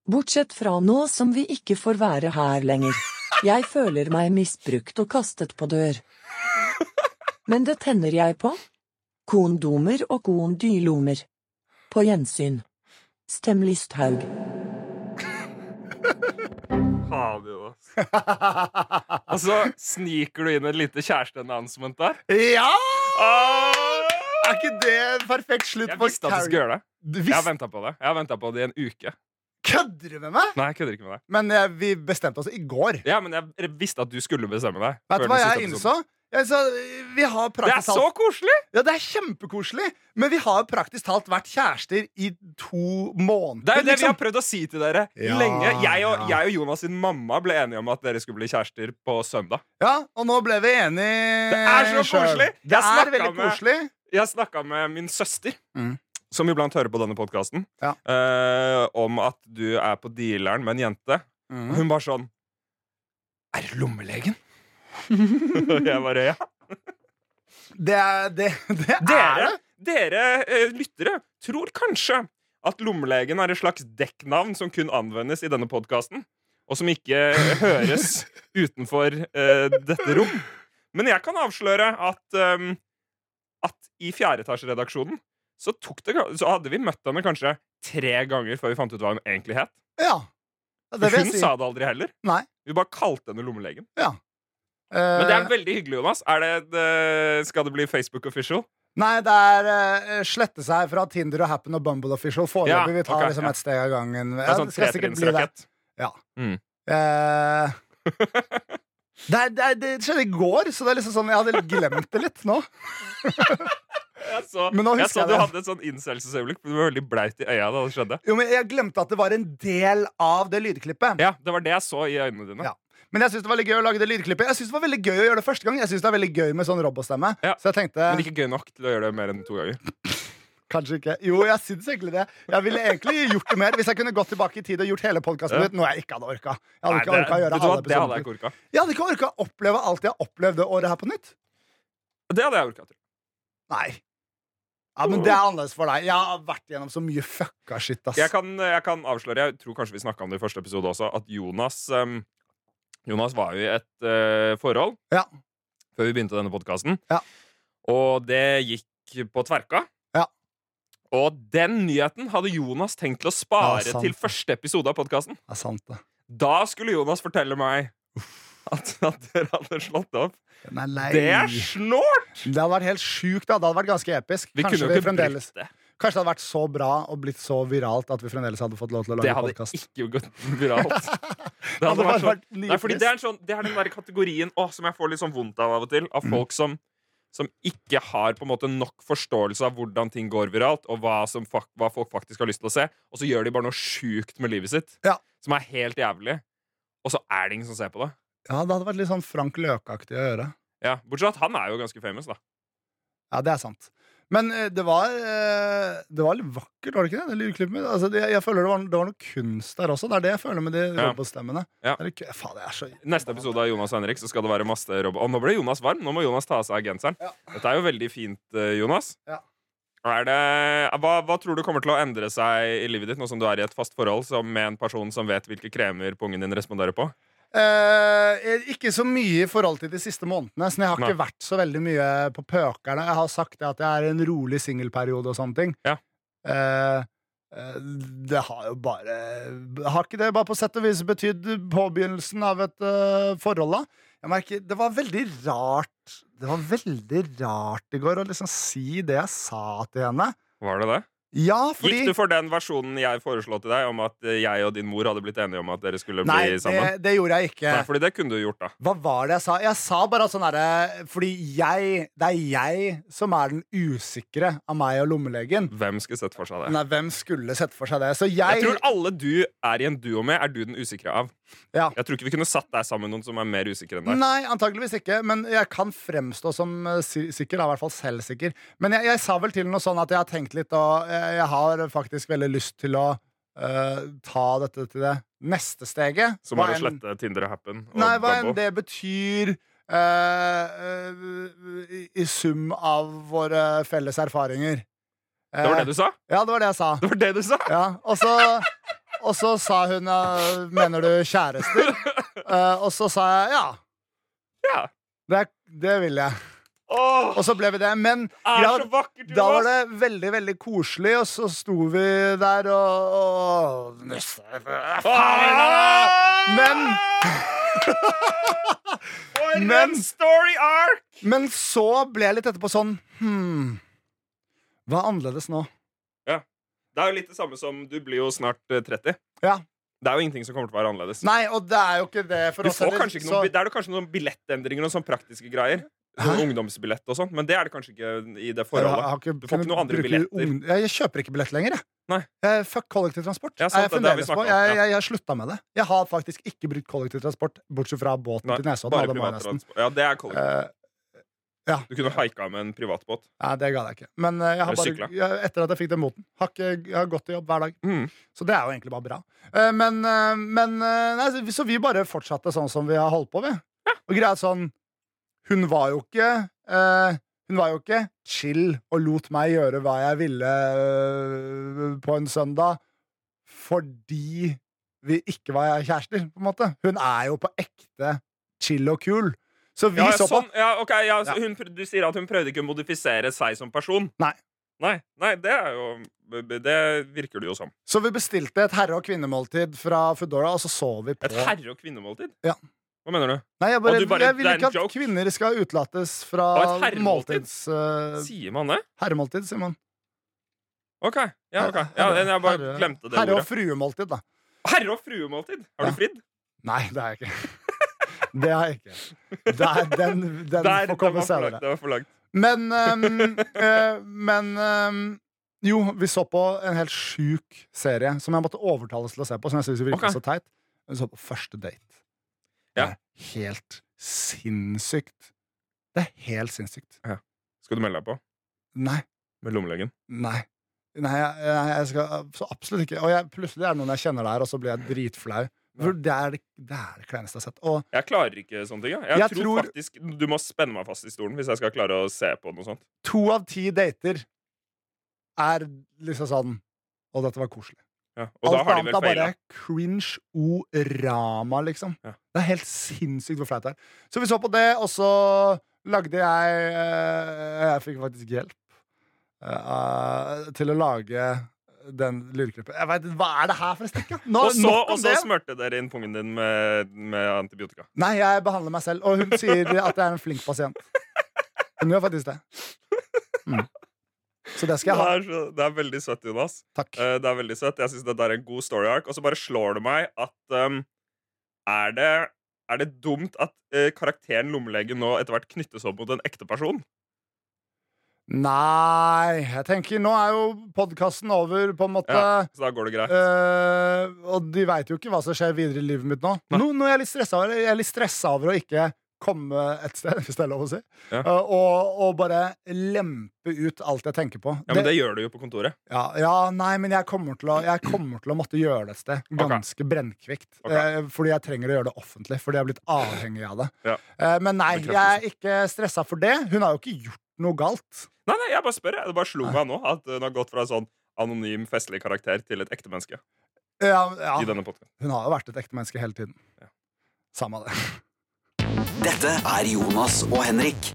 Bortsett fra nå som vi ikke får være her lenger. Jeg føler meg misbrukt og kastet på dør. Men det tenner jeg på. Kondomer og kondylomer. På gjensyn. Stem Listhaug. Faen, Jonas Og så sniker du inn et lite kjæreste-announcement der Ja! Åh! Er ikke det en perfekt slutt Jeg på visste at du skulle gjøre det Du Jeg har visste ventet på det Jeg har ventet på det i en uke Kødder du med meg?! Nei, jeg kødder ikke med deg Men eh, vi bestemte oss i går. Ja, men jeg visste at du skulle bestemme deg Vet før du den hva siste jeg episoden. innså? Jeg sa, vi har Det er praktisk så talt koselig Ja, det er kjempekoselig, men vi har praktisk talt vært kjærester i to måneder. Det er jo det vi har liksom. prøvd å si til dere Ja, lenge jeg og, ja. jeg og Jonas sin mamma ble enige om at dere skulle bli kjærester på søndag Ja, Og nå ble vi enige. Det er så selv. koselig. Eh, Det Jeg er snakket veldig med- koselig. Jeg snakka med min søster, Mm. som iblant hører på denne podkasten, Ja. eh, om at du er på dealeren med en jente. Og Mm. hun bare sånn Er det lommelegen? Og jeg bare ja. Det er det. det, er Dere, det. dere eh, lyttere tror kanskje at lommelegen er et slags dekknavn som kun anvendes i denne podkasten, og som ikke høres utenfor eh, dette rom. Men jeg kan avsløre at, ehm, at i fjerdeetasjeredaksjonen så, tok det, ga- så hadde vi møtt henne kanskje tre ganger før vi fant ut hva hun egentlig het. Ja. Ja, Det For vil hun jeg si. sa det aldri heller. Nei. Vi bare kalte henne Lommelegen. Eh, eh, Men det er veldig hyggelig, Jonas. Er det, det, skal det bli Facebook official? Nei, det er eh, slette seg fra Tinder og Happen og Bumble Official. Ja, Foreløpig. Vi tar ok, liksom ja. et steg av gangen. Det er Ja, sånn skal sikkert bli det. tretrinnsrakett. Ja. Mm. Eh, det, er, det, er, det skjedde i går, så det er liksom sånn jeg hadde glemt det litt nå. Jeg så, Men nå jeg så husker jeg du det. hadde et sånn incelsesøyeblikk. men Du var veldig bleit i øya da det skjedde. Jo, men Jeg glemte at det var en del av det lydklippet. Ja, det var det jeg så i øynene dine. Ja. Men jeg synes det var veldig gøy å lage det lydklippet. Jeg synes det var veldig gøy å gjøre det første gang. Jeg synes det er veldig gøy med sånn robotstemme. Ja. Så jeg tenkte Men ikke gøy nok til å gjøre det mer enn to ganger. kanskje ikke Jo, jeg synes egentlig det. Jeg ville egentlig gjort det mer hvis jeg kunne gått tilbake i tid og gjort hele podkasten Ja. ut. Noe jeg ikke hadde orka. Jeg hadde Nei, ikke orka å gjøre vet du hva, alle det hadde jeg episodene. ikke orka. Jeg hadde ikke orka å oppleve alt jeg har opplevd det året her på nytt. Det hadde jeg orka. tror jeg. Nei. Ja, Men det er annerledes for deg. Jeg har vært gjennom så mye fucka shit, ass. Mm. Jeg kan, jeg kan avsløre, jeg tror kanskje vi snakka om det i første episode også, at Jonas ehm, Jonas var jo i et eh, forhold Ja. før vi begynte denne podkasten. Ja. Og det gikk på tverka. Ja. Og den nyheten hadde Jonas tenkt til å Ja, spare sant. til første episode av podkasten. Det er sant, det. Da skulle Jonas fortelle meg at, at dere hadde slått opp. Den er lei. Det er snålt! Det hadde vært helt sjukt. da. Det hadde vært ganske episk. Vi Kanskje, kunne vi jo ikke fremdeles... brukt det. Kanskje det hadde vært så bra og blitt så viralt at vi fremdeles hadde fått lov til å Det lage hadde podkast. ikke gått viralt. Det Hadde hadde bare vært sånn vært nypris. Nei, fordi det er, en sånn, det er den der kategorien å, som jeg får litt sånn vondt av av og til. Mm. Av folk som, som ikke har på en måte nok forståelse av hvordan ting går viralt, og hva, som, fak- hva folk faktisk har lyst til å se. Og så gjør de bare noe sjukt med livet sitt Ja. som er helt jævlig. Og så er det ingen som ser på det. Ja, det hadde vært litt sånn Frank Løke-aktig å gjøre. Ja, Bortsett fra at han er jo ganske famous, da. Ja, det er sant. Men eh, det var, eh, det var litt vakkert, var det ikke det? det lydklippet mitt? Altså, det, jeg føler det var, det var noe kunst der også. Det er det jeg føler med de Ja. robotstemmene. Ja. Det er litt ku- Faen, det er så Neste episode av Jonas og Henrik så skal det være masse rob... Å, nå ble Jonas varm. Nå må Jonas ta av seg genseren. Ja. Dette er jo veldig fint, eh, Jonas. Ja. Er det, eh, hva, hva tror du kommer til å endre seg i livet ditt nå som du er i et fast forhold som med en person som vet hvilke kremer pungen din responderer på? Eh, ikke så mye i forhold til de siste månedene. Så jeg har ikke Nei. vært så veldig mye på pøkerne. Jeg har sagt det at jeg er i en rolig singelperiode og sånne ting. Ja. Eh, eh, det har jo bare Har ikke det bare på sett og vis betydd påbegynnelsen av et eh, forhold, da? Jeg merker, Det var veldig rart Det var veldig rart i går å liksom si det jeg sa til henne. Var det det? Ja, fordi Gikk du for den versjonen jeg foreslo til deg, om at eh, jeg og din mor hadde blitt enige om at dere skulle Nei, bli det, sammen? det gjorde jeg ikke. Nei, fordi det kunne du gjort, da. Hva var det jeg sa? Jeg sa bare sånn herre Fordi jeg Det er jeg som er den usikre av meg og lommelegen. Hvem skulle sett for seg det? Nei, hvem skulle sett for seg det? Så Jeg jeg, tror alle du er i en duo med, er du den usikre av. Ja. Jeg tror ikke vi kunne satt deg sammen med noen som er mer usikre enn deg. Nei, antageligvis ikke. Men jeg kan fremstå som eh, si- sikker. Da, I hvert fall selvsikker. Men jeg, jeg sa vel til noe sånn at jeg har tenkt litt, og eh, jeg, jeg har faktisk veldig lyst til å eh, ta dette til det neste steget. Som er å Hva enn- slette Tinder og Happen. Og Nei, hva enn Bumble. det betyr eh, eh, i, i sum av våre felles erfaringer. Eh, Det var det du sa? Ja, det var det jeg sa. Det var det du sa? Ja, og så og så sa hun eh, 'Mener du kjærester?' Eh, og så sa jeg ja. Ja. Det, det vil jeg. Åh, Og så ble vi det. Men er ja, så vakkert, da var Jonas! det veldig veldig koselig, og så sto vi der og, og Neste- Ah! Men- For Men- en story arc! Men så ble jeg litt etterpå sånn Hm, hva er annerledes nå? Det er jo litt det samme som du blir jo snart eh, 30. Ja. Det er jo ingenting som kommer til å være annerledes. Nei, og det er jo ikke det for Du oss. får heller, kanskje ikke så- noen, det er jo kanskje noen billettendringer og sånne praktiske greier. Sånn ungdomsbillett og sånn, men det er det kanskje ikke i det Jeg har- jeg forholdet. har Du ikke får ikke kunnet noen andre bruke billetter. ung- jeg, jeg kjøper ikke billett lenger, jeg. Nei. jeg fuck kollektivtransport. Ja, sant, det- det har vi jeg, fremdeles snakket på. om, jeg, ja. jeg, jeg slutta med det. Jeg har faktisk ikke brukt kollektivtransport, bortsett fra båten Nei, til Nesodden. og bare det må jeg nesten. privattransport. Ja, det er kollektivt. Eh, Du kunne haika med en privatbåt. nei, det gadd jeg ikke. Men eh, jeg har Eller bare, jeg, etter at jeg fikk den moten, har ikke, jeg har gått til jobb hver dag. Mm. Så det er jo egentlig bare bra. Eh, men eh, men eh, nei, så- så vi bare fortsatte sånn som vi har holdt på, vi. Og greia er sånn Hun var jo ikke eh, Hun var jo ikke chill og lot meg gjøre hva jeg ville eh, på en søndag fordi vi ikke var kjærester, på en måte. Hun er jo på ekte chill og kul. Så vi Ja, ja, så på. sånn, ja, ok, ja, så Ja. hun, pr- du sier at hun prøvde ikke å modifisere seg som person. Nei. Nei, nei det er jo Det virker det jo som. Så vi bestilte et herre- og kvinnemåltid fra Foodora, og så så vi på Et herre- og kvinnemåltid? Ja. Hva mener du? Nei, jeg, bare, Og du bare- jeg vil det er en ikke at joke. kvinner skal utelates fra Og et herremåltid. måltids... eh, Sier man det? herremåltid, sier man. Ok. Ja, ok. Ja, Herre- jeg bare herre- glemte det Herre- og ordet. fruemåltid, da. Herre- og fruemåltid. Har Ja. du fridd? Nei, det er jeg ikke. Det har jeg ikke. Der, den den Der, får det komme var for langt. senere. Det var for langt. Men ehm, eh, Men ehm, jo, vi så på en helt sjuk serie som jeg måtte overtales til å se på. Som jeg synes virket Ok. så teit Vi så på Første date. Ja. Det er helt sinnssykt. Det er helt sinnssykt. Skal du melde deg på Nei. med lommelegen? Nei. Nei, jeg, jeg jeg skal så absolutt ikke. Og jeg, plutselig er det noen jeg kjenner der, og så blir jeg dritflau. For Det er det, det, er det kleineste jeg har sett. Og Jeg klarer ikke sånne ting. Jeg, jeg, Jeg tror, tror- faktisk Du må spenne meg fast i stolen hvis jeg skal klare å se på noe sånt. to av ti dater er liksom sånn Og dette var koselig. Ja. Og da har de vel feila. er bare cringe-orama, liksom. Ja. Det er helt sinnssykt hvor flaut det er. Så vi så på det, og så lagde jeg eh, Jeg fikk faktisk hjelp eh, til å lage den lydklippet. Jeg vet, Hva er det her for et stikk, da? Nå- Og så, nok om og så det. smørte dere inn pungen din med, med antibiotika. Nei, jeg behandler meg selv. Og hun sier at jeg er en flink pasient. Hun gjør faktisk det. Mm. Så det skal jeg Det ha. er, så, det er veldig søtt, Jonas. Takk. Eh, det er veldig søtt. Jeg syns det der er en god story arc. Og så bare slår det meg at ehm, er, det, er det dumt at eh, karakteren lommelege nå etter hvert knyttes opp mot en ekte person? Nei, jeg tenker Nå er jo podkasten over, på en måte. Ja. Så da går det greit. Eh, og de veit jo ikke hva som skjer videre i livet mitt nå. Nei. Nå, nå er jeg litt stressa over, jeg er litt stresset over å ikke komme et sted, hvis det er lov å si, Ja. Eh, og, og bare lempe ut alt jeg tenker på. Ja, men det gjør du jo på kontoret. Ja, ja, nei, men jeg kommer til å, jeg kommer til å måtte gjøre det et sted. Ganske brennkvikt. Ok. Eh, fordi jeg trenger å gjøre det offentlig. Fordi jeg er blitt avhengig av det. Ja. Eh, men nei, jeg er Bekreftelse. ikke stressa for det. Hun har jo ikke gjort noe galt. Nei, nei, jeg bare spør. Jeg. Det bare slo meg nå at hun har gått fra en sånn anonym, festlig karakter til et ekte menneske. Eh, Ja, ja, I denne podcasten. hun har jo vært et ekte menneske hele tiden. Samme det. Dette er Jonas og Henrik.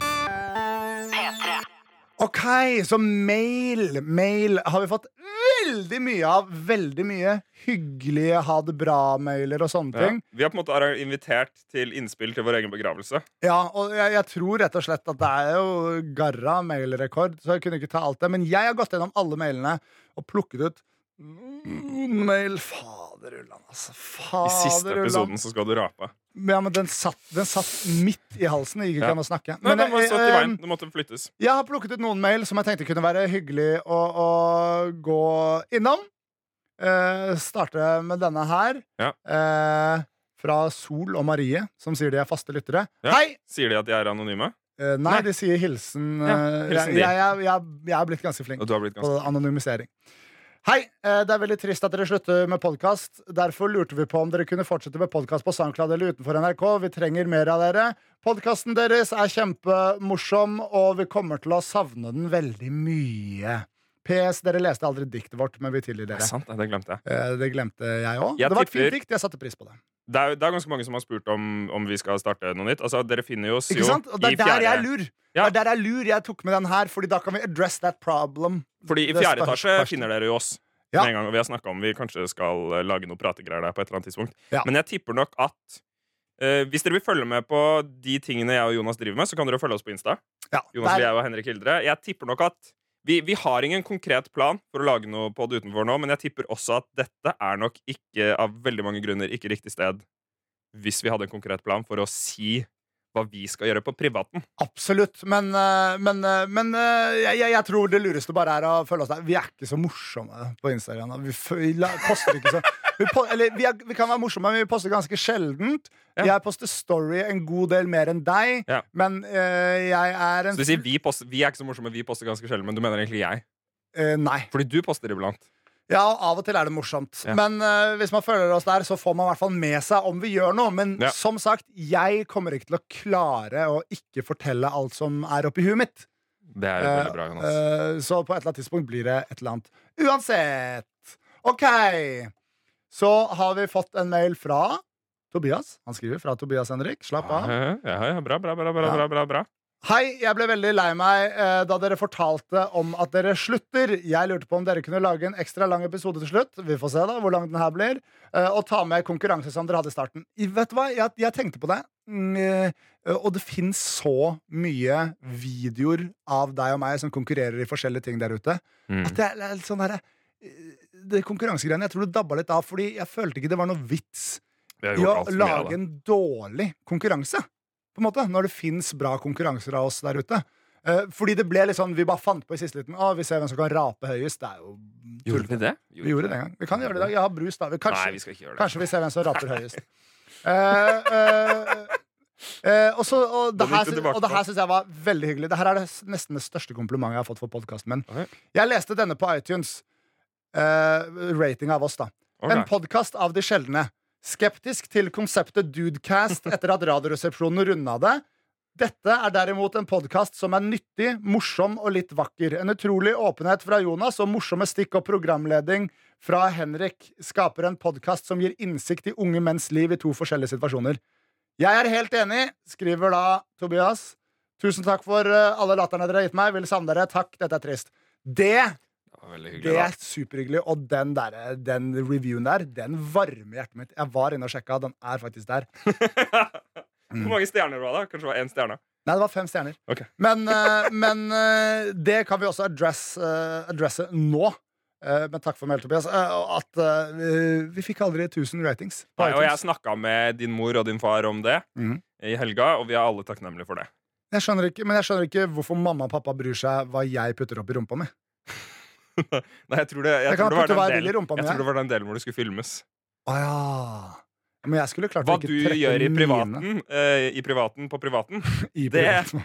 Ok, så mail, mail har vi fått veldig mye av. Veldig mye hyggelige ha det bra-mailer og sånne Ja. ting. Vi har på en måte er invitert til innspill til vår egen begravelse. Ja, og jeg, jeg tror rett og slett at det er jo garra mailrekord, så jeg kunne ikke ta alt det. Men jeg har gått gjennom alle mailene og plukket ut noen mail. Fader ullan, altså. Mm. I siste Fader ullan. episoden så skal du rape. Ja, men den satt, den satt midt i halsen. Det gikk ikke Ja. an å snakke. Nei, Men den var jeg- satt i eh, veien. Den måtte flyttes. Jeg har plukket ut noen mail som jeg tenkte kunne være hyggelig å, å gå innom. Eh, starte med denne her. Ja. Eh, fra Sol og Marie, som sier de er faste lyttere. Ja. Hei! Sier de at de er anonyme? Eh, nei, Nei. de sier hilsen. Ja, eh, hilsen de. jeg, jeg, jeg, jeg er blitt ganske flink Og du har blitt på ganske anonymisering. Hei! eh, Det er veldig trist at dere slutter med podkast. Derfor lurte vi på om dere kunne fortsette med podkast på SoundCloud eller utenfor NRK. Vi trenger mer av dere. Podkasten deres er kjempemorsom, og vi kommer til å savne den veldig mye. PS, dere leste aldri diktet vårt, men vi tilgir Det er dere. sant, det glemte jeg. Eh, Det glemte jeg òg. Jeg Det var et tipper- fint dikt. Jeg satte pris på det. Det er, det er ganske mange som har spurt om, om vi skal starte noe nytt. Altså, Dere finner jo oss Ikke jo sant? Og det i er der fjerde jeg er lur. Det Ja. er der jeg er lur. Jeg tok med den her, Fordi da kan vi address that problem. Fordi i Det fjerde spør- etasje spørs- finner dere jo oss. Ja. Med en gang, og Vi har snakka om vi kanskje skal eh, lage noe prategreier der på et eller annet tidspunkt. Ja. Men jeg tipper nok at eh, hvis dere vil følge med på de tingene jeg og Jonas driver med, så kan dere følge oss på Insta. Ja, Jonas der- Liau og Henrik Hildre. Jeg tipper nok at vi, vi har ingen konkret plan for å lage noe på det utenfor nå, men jeg tipper også at dette er nok ikke av veldig mange grunner ikke riktig sted hvis vi hadde en konkret plan for å si hva vi skal gjøre på privaten. Absolutt, men, eh, men, eh, men eh, jeg, jeg- jeg tror det lureste bare er å følge oss der. Vi er ikke så morsomme på Instagram. da. Vi, f vi la- poster ikke så vi, po eller, vi, er, vi kan være morsomme, men vi poster ganske sjeldent. Ja. Jeg poster story en god del mer enn deg, Ja. men eh, jeg er en Så du sier vi, poster, vi er ikke så morsomme, vi poster ganske sjelden, men du mener egentlig jeg. Eh, Nei. Fordi du poster iblant. Ja, og av og til er det morsomt. Ja. Men eh, hvis man følger oss der, så får man i hvert fall med seg om vi gjør noe. Men Ja. som sagt, jeg kommer ikke til å klare å ikke fortelle alt som er oppi huet mitt. Det er veldig bra, Jonas. Eh, så på et eller annet tidspunkt blir det et eller annet. Uansett! OK. Så har vi fått en mail fra Tobias. Han skriver fra Tobias Henrik. Slapp av. Ja, ja, ja, bra, bra, bra, bra, Ja. bra, bra, bra. Hei, jeg ble veldig lei meg eh, da dere fortalte om at dere slutter. Jeg lurte på om dere kunne lage en ekstra lang episode til slutt. Vi får se da hvor lang den her blir. Eh, og ta med konkurranse som dere hadde i starten. I- Vet du hva, jeg, jeg tenkte på det. Mm, eh, og det fins så mye videoer av deg og meg som konkurrerer i forskjellige ting der ute. Mm. At det er litt sånn her, eh, det konkurransegreiene jeg tror det dabba litt av, fordi jeg følte ikke det var noe vits Vi har i å gjort alt for mye av lage det. en dårlig konkurranse. På en måte, Når det fins bra konkurranser av oss der ute. Eh, fordi det ble litt sånn, vi bare fant på i siste liten. Å, vi ser hvem som kan rape høyest. Det er jo tull. Gjorde vi det? Vi gjorde det en gang. Vi kan gjøre det i dag. Jeg har brus, da. Vi- Kanskje, Nei, vi skal ikke gjøre det. kanskje vi ser hvem som raper høyest. Eh, eh, eh, og, så, og Nå det gikk det her, sy- tilbake og det på. her syns jeg var veldig hyggelig. Det her er det s- nesten det største komplimentet jeg har fått for podkasten min. Ok. Jeg leste denne på iTunes. Uh, rating av oss, da. Ok. En podkast av de sjeldne. Skeptisk til konseptet Dudecast etter at Radioresepsjonen runda det. Dette er derimot en podkast som er nyttig, morsom og litt vakker. En utrolig åpenhet fra Jonas og morsomme stikk og programleding fra Henrik skaper en podkast som gir innsikt i unge menns liv i to forskjellige situasjoner. Jeg er helt enig, skriver da Tobias. Tusen takk for eh, alle latterne dere har gitt meg. Vil savne dere. Takk, dette er trist. Det Det var veldig det hyggelig. er superhyggelig, og den, der, den reviewen der, den varmer hjertet mitt. Jeg var inne og sjekka, den er faktisk der. da Hvor mange stjerner var det? Kanskje det var én stjerne? Nei, det var fem stjerner. Mm. Ok. Men, eh, men eh, det kan vi også address, eh, addresse nå. Eh, men takk for meg, Tobias. eh, og at eh, vi fikk aldri 1000 ratings. på Nei, og jeg iTunes. snakka med din mor og din far om det Mhm. i helga, og vi er alle takknemlige for det. jeg skjønner ikke, men jeg skjønner ikke hvorfor mamma og pappa bryr seg hva jeg putter opp i rumpa mi. Nei, jeg tror det, jeg Jeg kan tror det var putte hva jeg den vil i delen, rumpa mi, jeg jeg. tror det var den delen hvor det skulle filmes. Å ja. Men jeg skulle klart å Hva ikke du trekke gjør i mine privaten, eh, i privaten på privaten, i det- privaten.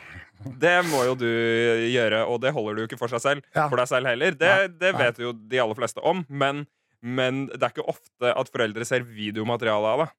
det må jo du gjøre, og det holder du jo ikke for, seg selv, Ja. for deg selv heller. Det, Nei, det nei. vet jo de aller fleste om, men, men det er ikke ofte at foreldre ser videomateriale av det.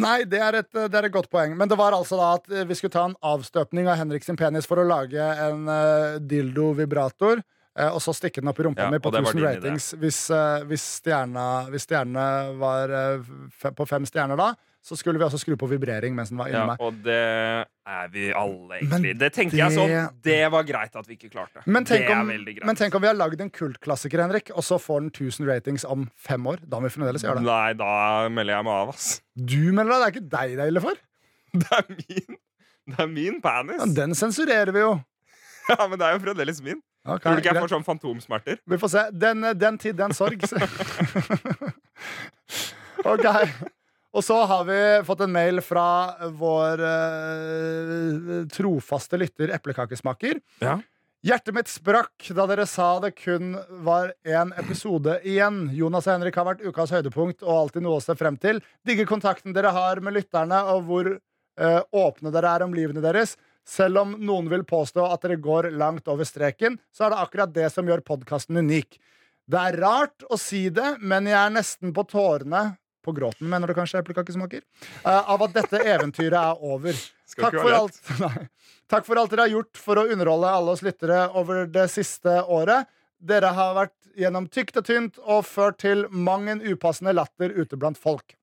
Nei, det er, et, det er et godt poeng. Men det var altså da at eh, vi skulle ta en avstøpning av Henrik sin penis for å lage en eh, dildo-vibrator, eh, og så stikke den opp i rumpa Ja, mi på og det var 1000 din idé. ratings. Hvis, eh, hvis, stjerna, hvis stjernene var eh, fe- på fem stjerner da, så skulle vi også skru på vibrering mens den var inni Ja, meg. og det er vi alle, Men egentlig. Det tenker det- jeg sånn. Det var greit at vi ikke klarte. Men tenk, det er om, veldig greit. men tenk om vi har lagd en kultklassiker, Henrik, og så får den 1000 ratings om fem år. Da må vi fremdeles gjøre det. Nei, da melder jeg meg av, ass. Du melder deg, det er ikke deg det er ille for. Det er min. Det er min penis. Ja, den sensurerer vi jo. Ja, men det er jo fremdeles min. Ok, Tror du ikke greit. jeg får sånn fantomsmerter? Vi får se. Den, den tid, den sorg. ok. Og så har vi fått en mail fra vår eh, trofaste lytter Eplekakesmaker. Ja. Hjertet mitt sprakk da dere sa det kun var én episode igjen. Jonas og Henrik har vært ukas høydepunkt og alltid noe å se frem til. Digger kontakten dere har med lytterne, og hvor eh, åpne dere er om livene deres. Selv om noen vil påstå at dere går langt over streken, så er det akkurat det som gjør podkasten unik. Det er rart å si det, men jeg er nesten på tårene På gråten, mener du kanskje, eplekakesmaker? Eh, av at dette eventyret er over. Skal Takk ikke for være alt Nei. Takk for alt dere har gjort for å underholde alle oss lyttere over det siste året. Dere har vært gjennom tykt og tynt og ført til mang en upassende latter ute blant folk.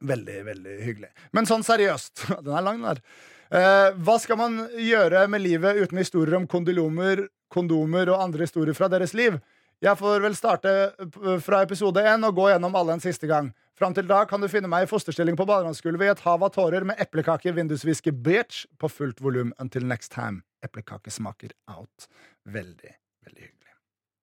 Veldig, veldig hyggelig. Men sånn seriøst Den er lang, den der. Eh, hva skal man gjøre med livet uten historier om kondomer, kondomer og andre historier fra deres liv? Jeg får vel starte eh, fra episode 1 og gå gjennom alle en siste gang. Fram til da kan du finne meg i fosterstilling på baderomsgulvet i et hav av tårer med eplekake, vindusviske, bitch på fullt volum until next time. Eplekake smaker out. Veldig, veldig hyggelig.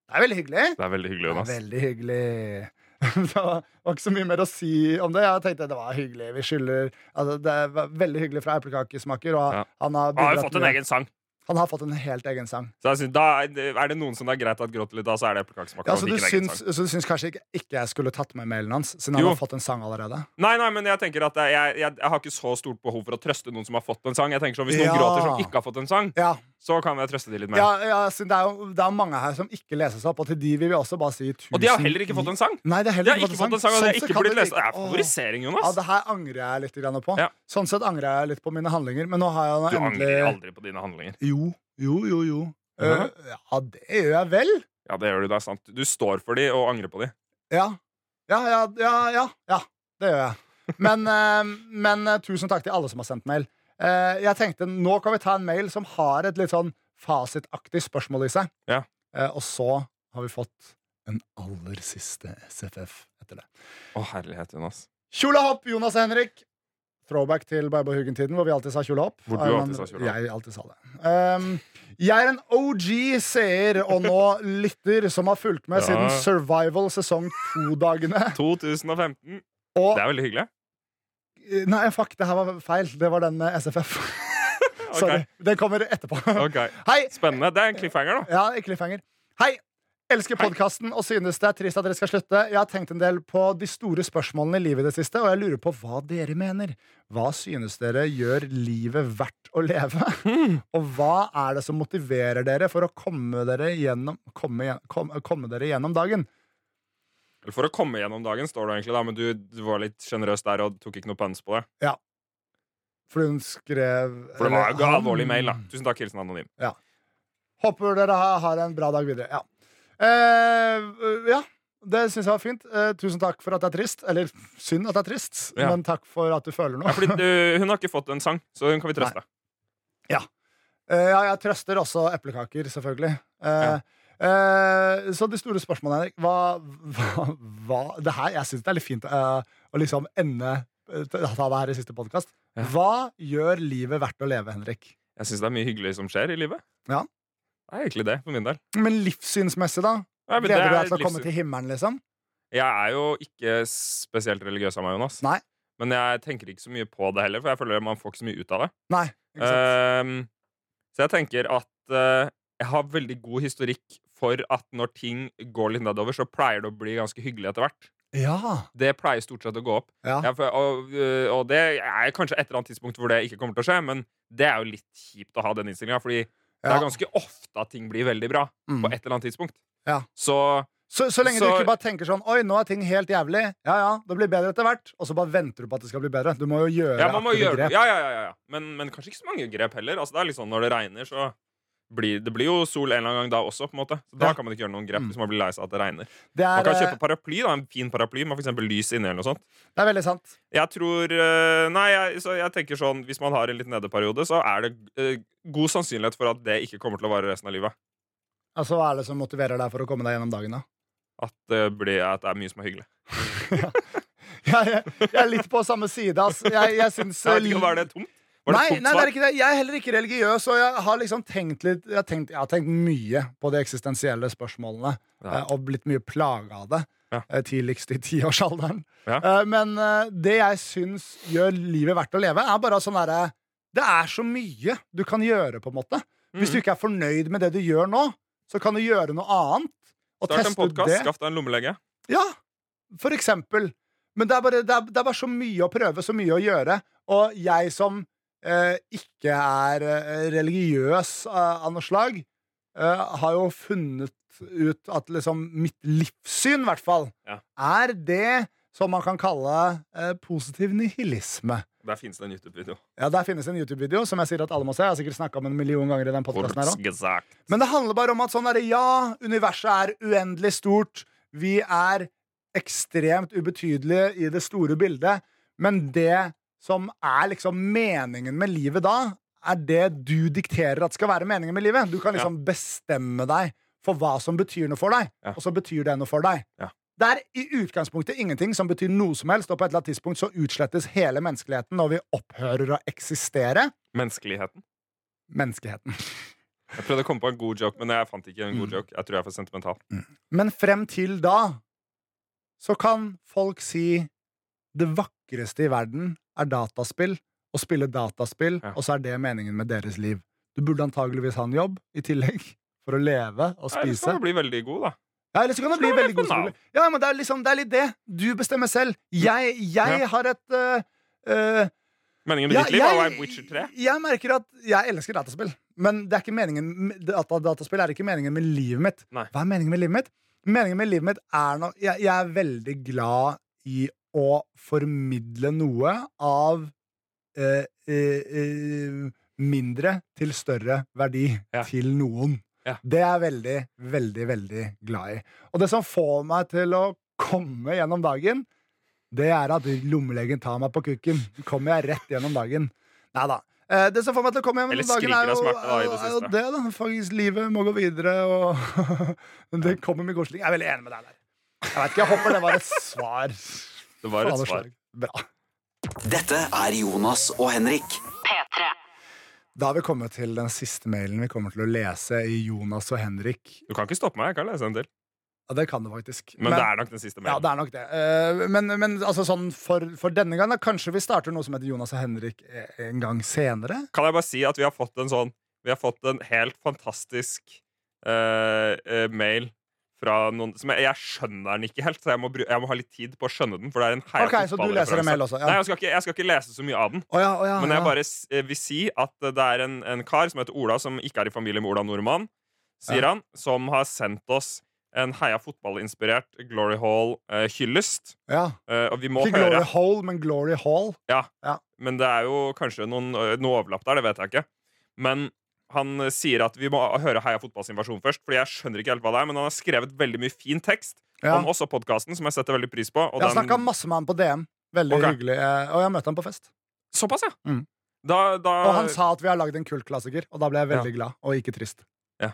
Det er veldig hyggelig. Det er veldig hyggelig, Det Jonas. er veldig hyggelig. det var var ikke så mye mer å si om det. Jeg tenkte det var hyggelig. Vi skylder altså, Det var veldig hyggelig fra eplekakesmaker, og Ja. han har Han har jo bidratt fått en mye. egen sang. Han har fått en helt egen sang. Så jeg synes, da er det- er det noen som det er greit at gråter litt av, så er det eplekakesmaker. Ja, og så, ikke du en egen syns, sang. så du syns kanskje ikke, ikke jeg skulle tatt med mailen hans, siden Jo. han har fått en sang allerede? Nei, nei, men jeg tenker at jeg, jeg, jeg har ikke så stort behov for å trøste noen som har fått en sang. Jeg tenker sånn, Hvis noen Ja. gråter som ikke har fått en sang, Ja, så kan jeg trøste de litt mer. ja, ja siden det, er jo, det er mange her som ikke leses opp, og til de vil vi også bare si tusen Og de har heller ikke fått en sang. Nei, de har De heller har ikke fått en sang, Sånn og de har ikke blitt lest. Det er favorisering, Ja, Jonas. det her angrer jeg litt grann på. Ja. Sånn sett angrer jeg litt på mine handlinger, men nå har jeg Du nå angrer endelig aldri på dine handlinger. Jo, jo, jo, jo. Ja. Eh, ja, det gjør jeg vel. Ja, det gjør du, det er sant. Du står for de og angrer på de. Ja. Ja, ja, ja. ja, ja. Det gjør jeg. Men, eh, men eh, tusen takk til alle som har sendt mail. Eh, Eh, jeg tenkte nå kan vi ta en mail som har et litt sånn fasitaktig spørsmål i seg. Ja. Eh, og så har vi fått en aller siste SFF etter det. Å, herlighet, Jonas. Kjolehopp, Jonas og Henrik! Throwback til Barbara Huggen-tiden, hvor vi alltid sa kjolehopp. Hvor du Eh, alltid men sa kjolehopp. Jeg alltid sa det. Ehm, jeg er en OG-seer og nå lytter som har fulgt med Ja. siden Survival sesong 2-dagene. 2015. Og Det er veldig hyggelig. Eh, Nei, fuck, det her var feil. Det var den med SFF. Sorry. Den kommer etterpå. Ok, Hei! Spennende. Det er en cliffhanger, da. Ja, cliffhanger. Hei! Elsker podkasten og synes det er trist at dere skal slutte. Jeg har tenkt en del på de store spørsmålene i livet i det siste, og jeg lurer på hva dere mener. Hva synes dere gjør livet verdt å leve? Hmm. Og hva er det som motiverer dere for å komme dere gjennom, komme, gjen- kom- komme dere gjennom dagen? Eller For å komme gjennom dagen, står det egentlig, da, men du, du var litt sjenerøs der og tok ikke noe puns på det. For hun skrev For det var jo eller en han- alvorlig mail, da. Tusen takk, hilsen anonym. Håper dere ha- har en bra dag videre. Ja. Eh, ja. Det syns jeg var fint. Eh, tusen takk for at det er trist. Eller synd at det er trist, Ja. men takk for at du føler noe. Ja, fordi du, hun har ikke fått en sang, så hun kan vi trøste. Eh, ja, jeg trøster også eplekaker, selvfølgelig. Eh, eh, så de store spørsmålene, Henrik hva, hva, hva, det her, Jeg syns det er litt fint eh, å liksom ende eh, ta ta det her i siste podkast. Ja. Hva gjør livet verdt å leve, Henrik? Jeg syns det er mye hyggelig som skjer i livet. Ja. Det er egentlig det, for min del. Men livssynsmessig, da? Nei, men det Gleder du er deg et til å komme livs- til himmelen, liksom? Jeg er jo ikke spesielt religiøs av meg, Jonas. Nei. Men jeg tenker ikke så mye på det heller, for jeg føler man får ikke så mye ut av det. Nei. Ikke sant? Ehm, så jeg tenker at eh, jeg har veldig god historikk for at når ting går litt nedover, så pleier det å bli ganske hyggelig etter hvert. ja. Det pleier stort sett å gå opp. ja. Jeg, får- og, øh, og det er kanskje et eller annet tidspunkt hvor det ikke kommer til å skje, men det er jo litt kjipt å ha den innstillinga, fordi det Ja. er ganske ofte at ting blir veldig bra Mm. på et eller annet tidspunkt. Ja. Så Så, så lenge du Så- ikke bare tenker sånn Oi, nå er ting helt jævlig. Ja, ja, det blir bedre etter hvert. Og så bare venter du på at det skal bli bedre. Du må jo gjøre ja, man må aktive gjøre grep. Ja, ja, ja, ja, ja. Men, men kanskje ikke så mange grep heller. Altså, det er litt sånn når det regner, så blir, det blir jo sol en eller annen gang da også, på en måte. Så da Ja. kan man ikke gjøre noen grep Mm. hvis man blir lei seg av at det regner. Det, Man er, kan kjøpe eh, paraply, da, en fin paraply med for eksempel lys inni eller noe sånt. det er veldig sant. Jeg tror øh, Nei, jeg, så jeg tenker sånn hvis man har en litt nedeperiode, så er det øh, god sannsynlighet for at det ikke kommer til å vare resten av livet. Altså, Hva er det som motiverer deg for å komme deg gjennom dagen, da? at det, blir, at det er mye som er hyggelig. Jeg, jeg, jeg er litt på samme side, ass. Jeg, jeg syns Jeg vet ikke, Var det tomt? Var det nei, tomt nei, det svar? er ikke det. Jeg er heller ikke religiøs, og jeg har liksom tenkt litt Jeg har tenkt, jeg har tenkt mye på de eksistensielle spørsmålene, Ja. eh, og blitt mye plaga av det. Ja. eh, Tidligst i tiårsalderen. Ja. Eh, Men eh, det jeg syns gjør livet verdt å leve, er bare sånn derre Det er så mye du kan gjøre, på en måte. Hvis du Mm. ikke er fornøyd med det du gjør nå, så kan du gjøre noe annet. Og Start en teste ut podkast, det. skaff deg en lommelege. Ja, for eksempel. Men det er, bare, det, er, det er bare så mye å prøve, så mye å gjøre. Og jeg som eh, ikke er eh, religiøs eh, av noe slag, eh, har jo funnet ut at liksom mitt livssyn, i hvert fall, Ja. er det som man kan kalle eh, positiv nihilisme. Der finnes det en YouTube-video. Ja, Der finnes en YouTube-video som jeg sier at alle må se. Jeg har sikkert snakket om den en million ganger i den podcasten her også. Kurzgesagt. Men det handler bare om at sånn er det. Ja, universet er uendelig stort. Vi er ekstremt ubetydelige i det store bildet. Men det som er liksom meningen med livet da, er det du dikterer at skal være meningen med livet. Du kan liksom bestemme deg for hva som betyr noe for deg, Ja. og så betyr det noe for deg. Ja. Det er i utgangspunktet ingenting som betyr noe som helst, og på et eller annet tidspunkt så utslettes hele menneskeligheten når vi opphører å eksistere. Menneskeligheten. Menneskeheten. Jeg prøvde å komme på en god joke, men jeg fant ikke en Mm. god joke. Jeg tror jeg er for sentimental. Men frem til da så kan folk si det vakreste i verden er dataspill, og spille dataspill, Ja. og så er det meningen med deres liv. Du burde antageligvis ha en jobb i tillegg for å leve og Nei, Ellers spise. kan du bli veldig god, da. Ja, eller så kan det bli Slå meg veldig god på Nav. skole. Ja, men det er, liksom, det er litt det. Du bestemmer selv. Jeg, jeg Ja. har et øh, øh, Meningen med ja, ditt liv er å være Witcher 3. jeg merker at jeg elsker dataspill, men det er ikke meningen data, dataspill er ikke meningen med livet mitt. Nei. Hva er meningen med livet mitt? Meningen med livet mitt er no, jeg, jeg er veldig glad i å formidle noe av eh, eh, eh, mindre til større verdi Ja. til noen. Ja. Det er jeg veldig, veldig, veldig glad i. Og det som får meg til å komme gjennom dagen, det er at lommelegen tar meg på kukken. Kommer jeg rett gjennom dagen. Nei da. Eh, Det som får meg til å komme hjem Eller om dagen, skriker er av jo, smerte, da, i det er jo siste. det. da Faktisk, Livet må gå videre, og det kommer mye godsling. Jeg er veldig enig med deg der. Jeg vet ikke, jeg håper det var et svar. Det var Faen, et det svar. slag. Bra. Dette er Jonas og Henrik. Da har vi kommet til den siste mailen vi kommer til å lese i Jonas og Henrik. Du kan ikke stoppe meg. Jeg kan lese en til. Ja, det kan det faktisk. Men, det er nok den siste ja, mailen. det er nok det. Eh, Men, men altså, sånn for, for denne gang, da, kanskje vi starter noe som heter Jonas og Henrik eh, en gang senere? Kan jeg bare si at vi har fått en sånn Vi har fått en helt fantastisk eh, eh, mail fra noen som jeg, jeg skjønner den ikke helt, så jeg må, bru, jeg må ha litt tid på å skjønne den. For det er en heia Ok, så du leser en fotballreferanse. mail også? Nei, Ja. jeg skal, ikke, jeg skal ikke lese så mye av den. Å ja, å ja, Men ja. jeg bare s- eh, vil si at eh, det er en, en kar som heter Ola, som ikke er i familie med Ola Nordmann, sier han, som har sendt oss en heia fotballinspirert Glory Hall-hyllest. ja. Eh, og vi må Ikke høre Glory Hole, men Glory Hall. Men det er jo kanskje noen, ø, noe overlapp der, det vet jeg ikke. Men han ø, sier at vi må høre Heia fotballs versjon først, Fordi jeg skjønner ikke helt hva det er. Men han har skrevet veldig mye fin tekst Ja. om oss og podkasten, som jeg setter veldig pris på. Og Jeg har den- snakka masse med han på DM. Veldig Ok. hyggelig. eh, Og jeg møtte han på fest. Såpass, ja! Mm. Da, da, Og han sa at vi har lagd en kultklassiker, og da ble jeg veldig glad. Og ikke trist. Ja.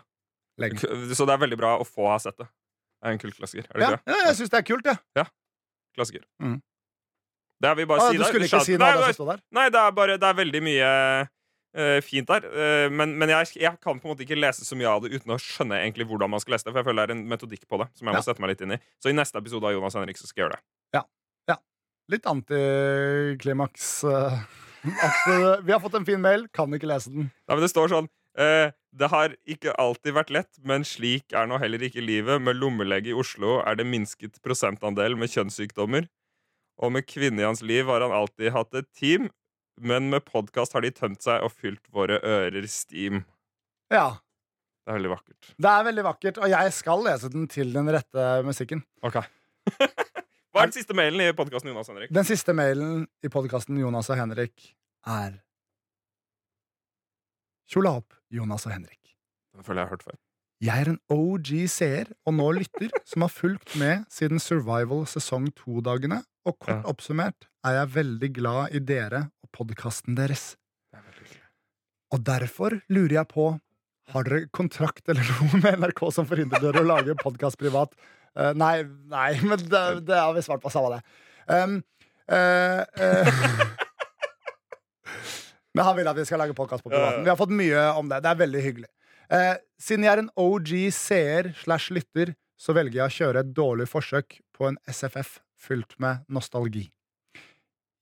Lenge. Så det er veldig bra å få ha sett det. Det er en kultklassiker. Er det Ja, ikke det? ja, jeg syns det er kult, jeg. Klassiker. Mm. Det vil Ja. bare si Du der. skulle ikke Shout- si noe Nei, av det bare- som sto der. Nei, det er bare Det er veldig mye eh, fint der. Eh, men men jeg, jeg kan på en måte ikke lese så mye av det uten å skjønne egentlig hvordan man skal lese det. For jeg føler det er en metodikk på det som jeg må Ja. sette meg litt inn i. Så i neste episode av Jonas Henrik så skal jeg gjøre det. Litt antiklimaks. eh, At eh, vi har fått en fin mail, kan ikke lese den. Nei, men det står sånn eh, Det har ikke alltid vært lett, men slik er nå heller ikke livet. Med lommelege i Oslo er det minsket prosentandel med kjønnssykdommer. Og med kvinne i hans liv har han alltid hatt et team, men med podkast har de tømt seg og fylt våre ører steam. Ja, Det er veldig vakkert. Det er veldig vakkert, og jeg skal lese den til den rette musikken. Hva er den siste mailen i podkasten, Jonas Henrik? Den siste mailen i podkasten Jonas og Henrik er Kjola opp, Jonas og Henrik. Den føler jeg har hørt før. Jeg er en OG seer og nå lytter som har fulgt med siden Survival sesong 2-dagene, og kort Ja. oppsummert er jeg veldig glad i dere og podkasten deres. Og derfor lurer jeg på, har dere kontrakt eller noe med NRK som forhindrer dere å lage podkast privat? Eh, nei, nei, men det, det har vi svart på, samme det. Um, eh, eh. men han vil at vi skal lage podkast på privaten. Vi har fått mye om det. Det er veldig hyggelig. Eh, siden jeg er en OG seer slash lytter, så velger jeg å kjøre et dårlig forsøk på en SFF fylt med nostalgi.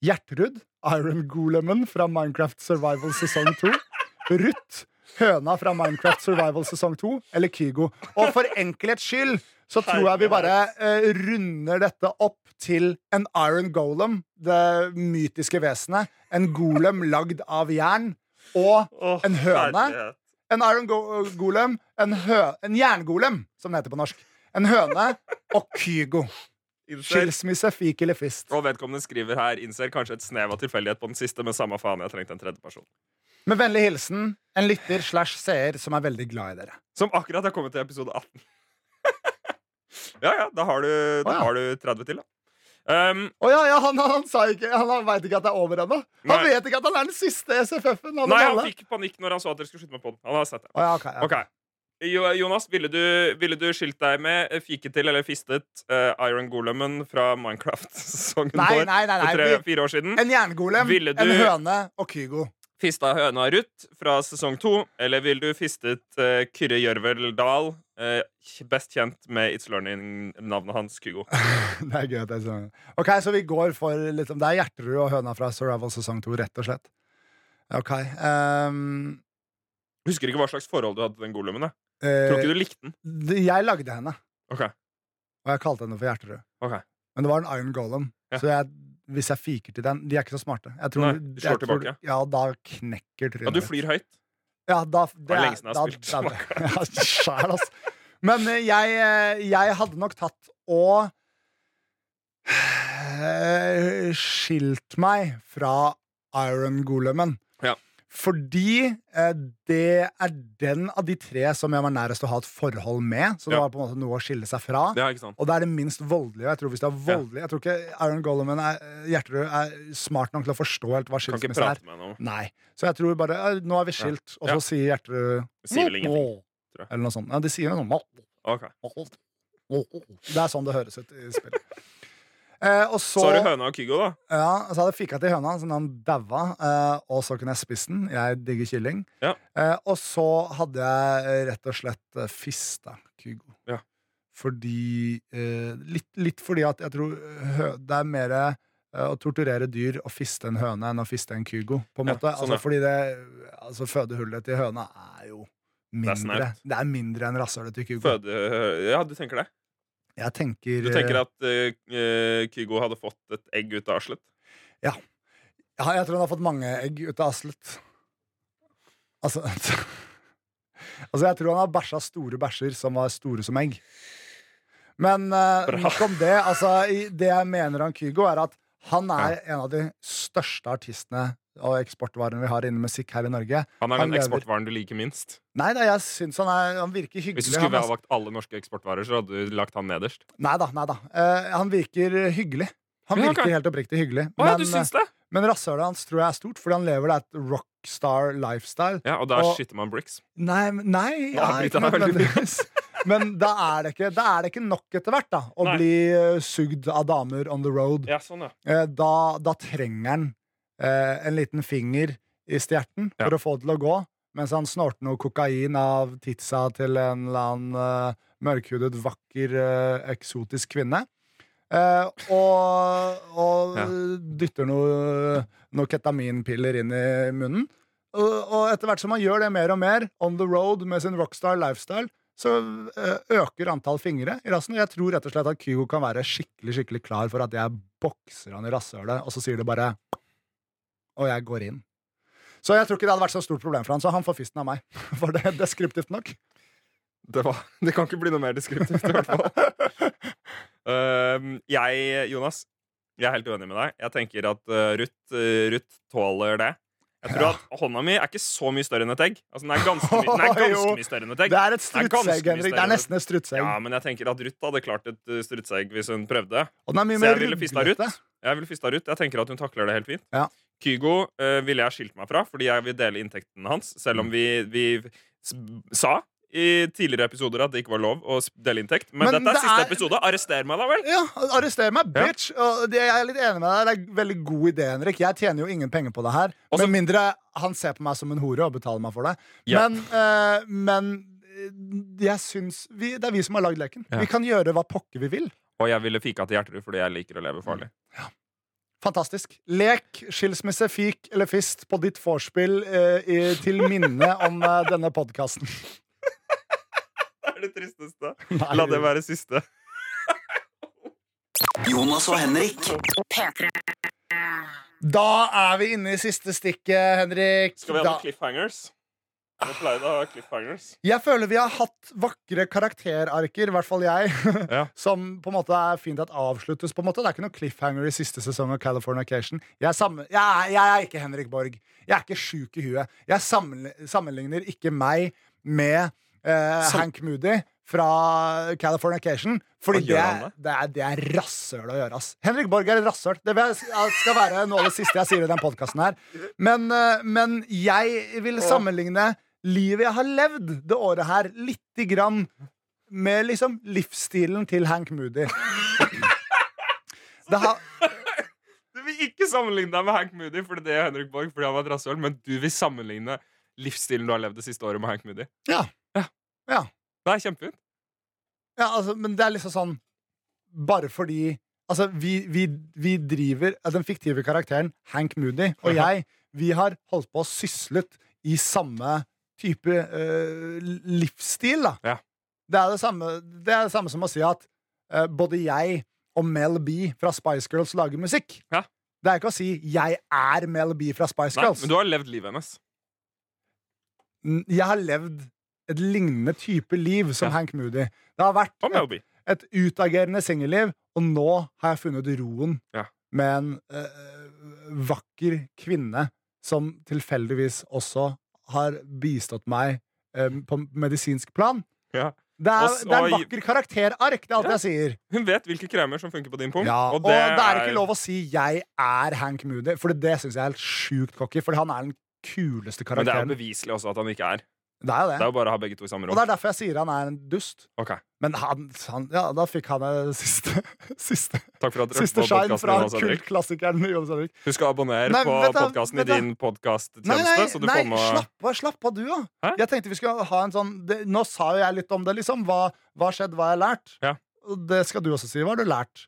Gjertrud, Iron Golemen fra Minecraft Survival sesong 2. Ruth, høna fra Minecraft Survival sesong 2. Eller Kygo. Og for enkelhets skyld så tror jeg vi bare eh, runder dette opp til en Iron Golem, det mytiske vesenet. En golem lagd av jern. Og Åh, En høne? herlighet. en iron go golem, en, hø en jerngolem, som det heter på norsk. En høne og Kygo. Innser, Skilsmisse, fik eller fist. og vedkommende skriver her innser kanskje et snev av tilfeldighet på den siste, men samme faen, jeg trengte en tredje person. Med vennlig hilsen en lytter slash seer som er veldig glad i dere. Som akkurat har kommet til episode 18. ja, ja, da har du, da Å, ja. har du 30 til, da. Um, Å ja, ja, han, han sa ikke Han, han veit ikke at det er over ennå. Han Nei. vet ikke at han er den siste SFF-en. av dem nei, han alle. fikk panikk når han så at dere skulle skyte meg på den. Han har sett det. Å ja, ok, ja. Ok. Jo, Jonas, ville du, ville du skilt deg med eh, fiket til eller fistet eh, Iron Golemen fra Minecraft-sesongen Nei, vår nei, nei, nei. for vi- tre-fire år siden? En jerngolem, Ville du- en høne og Kygo. Fista høna Ruth fra sesong to, eller vil du fistet eh, Kyrre Gjørvel Dahl, eh, best kjent med It's Learning-navnet hans, Kygo? Det er gøy at jeg sier det. Ok, så vi går for liksom, Det er Gjertrud og høna fra Survival sesong 2, rett og slett. Ok. ehm, Husker ikke hva slags forhold du hadde til den golemen. Jeg. eh, Tror ikke du likte den. det- jeg lagde henne. Ok, Og jeg kalte henne for Hjerterød. ok Men det var en Iron Golem. Ja. Så jeg, hvis jeg fiker til den De er ikke så smarte. Jeg tror, Nei, du slår jeg tror- tilbake. Ja, da knekker trynet Ja, du mitt. flyr høyt. Eh, Ja, da, det var er- lenge siden jeg har da- spilt da- Ja, sjæl, ass. Men eh, jeg, eh, jeg hadde nok tatt og eh, skilt meg fra Iron Golemen. Ja. Fordi eh, det er den av de tre som jeg var nærest å ha et forhold med. Så det Ja. var på en måte noe å skille seg fra. Ja, ikke sant? Og det er det minst voldelige. og Jeg tror hvis det er voldelig Jeg tror ikke Aaron Goleman er, Hjerterud er smart nok til å forstå helt hva Kan ikke skilsmisse er. prate med henne om Nei. Så jeg tror bare eh, Nå er vi skilt, og Ja. så sier Hjerterud Sier vel ingenting. «Åh», tror jeg. Eller noe sånt. Ja, de sier noe sånn «Åh, Ok. åh, åh, åh». Det er sånn det høres ut i spillet. Eh, og så, Så har du høna og Kygo, da. ja, så hadde jeg fikka til høna, så den daua. Eh, og så kunne jeg spist den. Jeg digger kylling. Ja. Eh, og så hadde jeg eh, rett og slett eh, fista Kygo. Ja. Fordi eh, litt, litt fordi at jeg tror hø, det er mer eh, å torturere dyr og fiste en høne enn å fiste en Kygo. På en Ja, måte. sånn, altså, ja. fordi det altså, fødehullet til høna er jo er mindre. Det snaut. er, mindre enn rasshølet til Kygo. Føde... eh, Ja, du tenker det? Jeg tenker, Du tenker at eh, eh, Kygo hadde fått et egg ut av Aslet? Ja, jeg tror hun har fått mange egg ut av Aslet. Altså Altså, jeg tror han har bæsja store bæsjer som var store som egg. Men eh, Bra. nok om det. Altså, i- det jeg mener om Kygo, er at han er en av de største artistene og eksportvarene vi har innen musikk her i Norge. Han er Han den lever. eksportvaren du liker minst. Nei da, jeg syns han, er, han virker hyggelig. Hvis du han, skulle ha altså. valgt alle norske eksportvarer, så hadde du lagt han nederst. Nei da, nei da. Eh, han virker hyggelig. Han Ja, virker ok. helt oppriktig hyggelig. Å ja, du men eh, syns det? men rasshølet hans tror jeg er stort, fordi han lever da et rockstar-lifestyle. Ja, og da og- skyter man bricks. Nei, men- nei Nå har nei, jeg ikke blitt her veldig mye. nødvendigvis. Men da er, det ikke, da er det ikke nok etter hvert da å Nei. bli eh, sugd av damer on the road. Ja, sånn, ja. Eh, Da, da trenger han eh, en liten finger i stjerten Ja. for å få det til å gå, mens han snorter noe kokain av titsa til en eller annen eh, mørkhudet, vakker, eh, eksotisk kvinne. Eh, og og Ja. dytter noe, noe ketaminpiller inn i munnen. Og, og etter hvert som man gjør det mer og mer, on the road med sin rockstar lifestyle, så eh, øker antall fingre i rassen. Og jeg tror rett og slett at Kygo kan være skikkelig skikkelig klar for at jeg bokser han i rasshølet, og så sier det bare Og jeg går inn. Så jeg tror ikke det hadde vært så stort problem for han, så han får fisten av meg. Var det deskriptivt nok? Det, var, det kan ikke bli noe mer deskriptivt, i hvert fall. Ehm, jeg, Jonas, jeg er helt uenig med deg. Jeg tenker at eh, Ruth, eh, Ruth tåler det. Jeg tror at Hånda mi er ikke så mye større enn et egg. Altså, den er ganske, my den er ganske Jo. mye større enn et egg. Det er et Det er ganske strutseegg, mye Henrik. Det større er nesten et strutseegg. Ja, Men jeg tenker at Ruth hadde klart et eh, strutseegg hvis hun prøvde. og den er mye Så mer jeg ville fista ruglete. Ruth. Jeg ville fista Ruth. Jeg tenker at hun takler det helt fint. Ja. Kygo eh, ville jeg skilt meg fra, fordi jeg vil dele inntekten hans. Selv Mm. om vi, vi s sa i tidligere episoder at det ikke var lov å s- dele inntekt. Men, Men dette er det siste er- episode. Arrester meg, da vel! Ja, arrester meg, Ja. bitch! Og det, jeg er litt enig med deg. Det er en veldig god idé, Henrik. Jeg tjener jo ingen penger på det her. Og så- Med mindre han ser på meg som en hore og betaler meg for det. Ja. Men, eh, men eh, jeg syns vi, Det er vi som har lagd leken. Ja. Vi kan gjøre hva pokker vi vil. Og jeg ville fika til Hjerterud fordi jeg liker å leve farlig. Fantastisk. Lek, skilsmisse, fik eller fist på ditt vorspiel eh, i, til minne om eh, denne podkasten. Det er det tristeste. La det være siste. Jonas og Henrik. Da er vi inne i siste stikket, Henrik. Skal vi ha Da- noen cliffhangers? Jeg pleide å ha cliffhangers. Jeg føler vi har hatt vakre karakterarker, i hvert fall jeg, Ja. som på en måte er fint at avsluttes. på en måte. Det er ikke noe cliffhanger i siste sesong av Californication. Jeg, er sammen- jeg, er- jeg er ikke Henrik Borg. Jeg er ikke sjuk i huet. Jeg sammenli- sammenligner ikke meg med eh, Sam- Hank Moody fra Californication, fordi Hva gjør det, han er- det er, det er rasshøl å gjøre, ass. Henrik Borg er et rasshøl. Det vil jeg- skal være noe av det siste jeg sier i den podkasten her. Men, eh, men jeg vil sammenligne livet jeg har levd det året her, lite grann med liksom livsstilen til Hank Moody. Det har, Du vil ikke sammenligne deg med Hank Moody fordi det er Henrik Borg, fordi han var et rasshøl, men du vil sammenligne livsstilen du har levd det siste året med Hank Moody. ja. ja. Det er kjempefint. Ja, altså, men det er liksom sånn Bare fordi Altså, vi, vi, vi driver ja, Den fiktive karakteren Hank Moody og jeg, vi har holdt på og syslet i samme type eh, livsstil, da. Ja. Det, er det, samme, det er det samme som å si at eh, både jeg og Mel B fra Spice Girls lager musikk. Ja. Det er ikke å si 'jeg er Mel B fra Spice Nei, Girls'. men du har levd livet hennes. N- Jeg har levd et lignende type liv som Ja. Hank Moody. Det har vært Og et Melby. et utagerende singelliv, og nå har jeg funnet roen Ja. med en eh, vakker kvinne som tilfeldigvis også har bistått meg eh, på medisinsk plan. Ja. Det er, Og så- det er en vakker karakterark, det er alt jeg sier. Hun vet hvilke kremer som funker på din pung. Ja, og det er ikke lov å si 'jeg er Hank Moody', for det syns jeg er helt sjukt cocky. For han er den kuleste Men det er jo karakteren. beviselig også at han ikke er. Det er jo Det er det. jo bare å ha begge to i samme Og rom. det er derfor jeg sier han er en dust. Ok, Men han, han Ja, da fikk han eh, siste, siste, Takk for at dere siste hørte på shine podkasten. fra kultklassikeren Jonas Henrik. Husk å abonnere Nei, på vet du- podkasten i vet du- din Nei, podkasttjeneste, nei, så du nei får med slapp av, slapp av du, da. Hæ? Jeg tenkte vi skulle ha en sånn det, Nå sa jo jeg litt om det, liksom. Hva hva har skjedd, hva har jeg lært? Ja. Og Det skal du også si. Hva har du lært?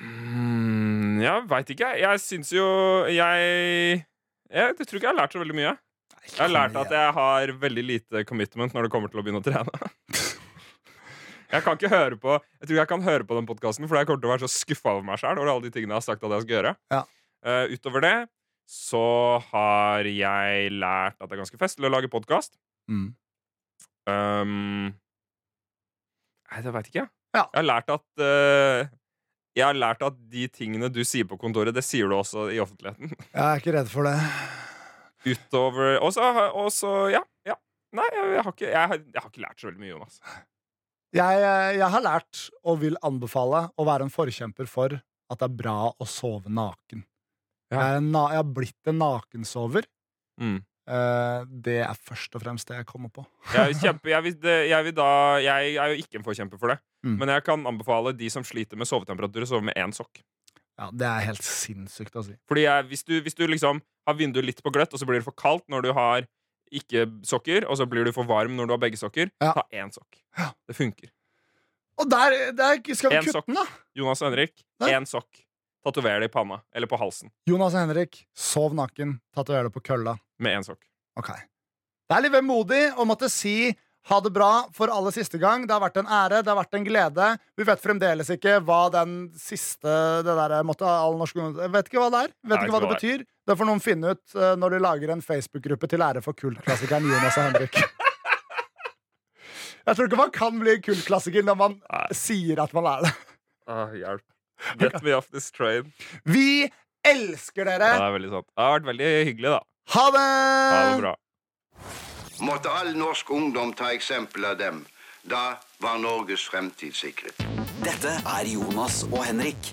mm, Ja, veit ikke. jeg. Jeg syns jo Jeg jeg tror ikke jeg har lært så veldig mye. Jeg har lært at jeg har veldig lite commitment når det kommer til å begynne å trene. Jeg kan ikke høre på Jeg tror ikke jeg kan høre på den podkasten, for jeg kommer til å være så skuffa over meg sjøl over alle de tingene jeg har sagt at jeg skal gjøre. Ja. Eh, utover det så har jeg lært at det er ganske festlig å lage podkast. Mm. Um, nei, det veit ikke jeg. Ja. Jeg har lært at eh, Jeg har lært at de tingene du sier på kontoret, det sier du også i offentligheten. Jeg er ikke redd for det. Utover Og så har- og så- ja, ja. Nei, jeg, jeg, har ikke, jeg, har, jeg har ikke lært så veldig mye, Jonas. Jeg, eh, jeg har lært, og vil anbefale, å være en forkjemper for at det er bra å sove naken. Ja. Jeg, er en na jeg har blitt en nakensover. Mm. Eh, det er først og fremst det jeg kommer på. Jeg, kjempe, jeg, vil, det- jeg vil da Jeg er jo ikke en forkjemper for det. Mm. Men jeg kan anbefale de som sliter med sovetemperatur, å sove med én sokk. Ja, Det er helt sinnssykt å si. Fordi jeg, hvis, du, hvis du liksom har vinduet litt på gløtt, og så blir det for kaldt når du har ikke sokker, og så blir du for varm når du har begge sokker, Ja. ta én sokk. Ja. Det funker. Og der, der skal vi En kutte sokk. den, da! Jonas og Henrik, Nei. én sokk. Tatover det i panna eller på halsen Jonas og Henrik, sov naken. Tatover det på kølla. med én sokk. Ok. Det er litt vemodig å måtte si ha det bra for alle siste gang. Det har vært en ære, det har vært en glede. Vi vet fremdeles ikke hva den siste det der, måtte, all norsk ungdom- Jeg Vet ikke hva det er. Vet Nei, ikke hva det betyr. Det får noen finne ut eh, når de lager en Facebook-gruppe til ære for kultklassikeren Jonas og Henrik. Jeg tror ikke man kan bli kultklassiker når man sier at man er det. Ah, hjelp. Get me off this train. Vi elsker dere! Ja, det er veldig sant. Det har vært veldig hyggelig, da. Ha det! Ha Eh. det bra. Måtte all norsk ungdom ta eksempel av dem. Da var Norges fremtid sikret. Dette er Jonas og Henrik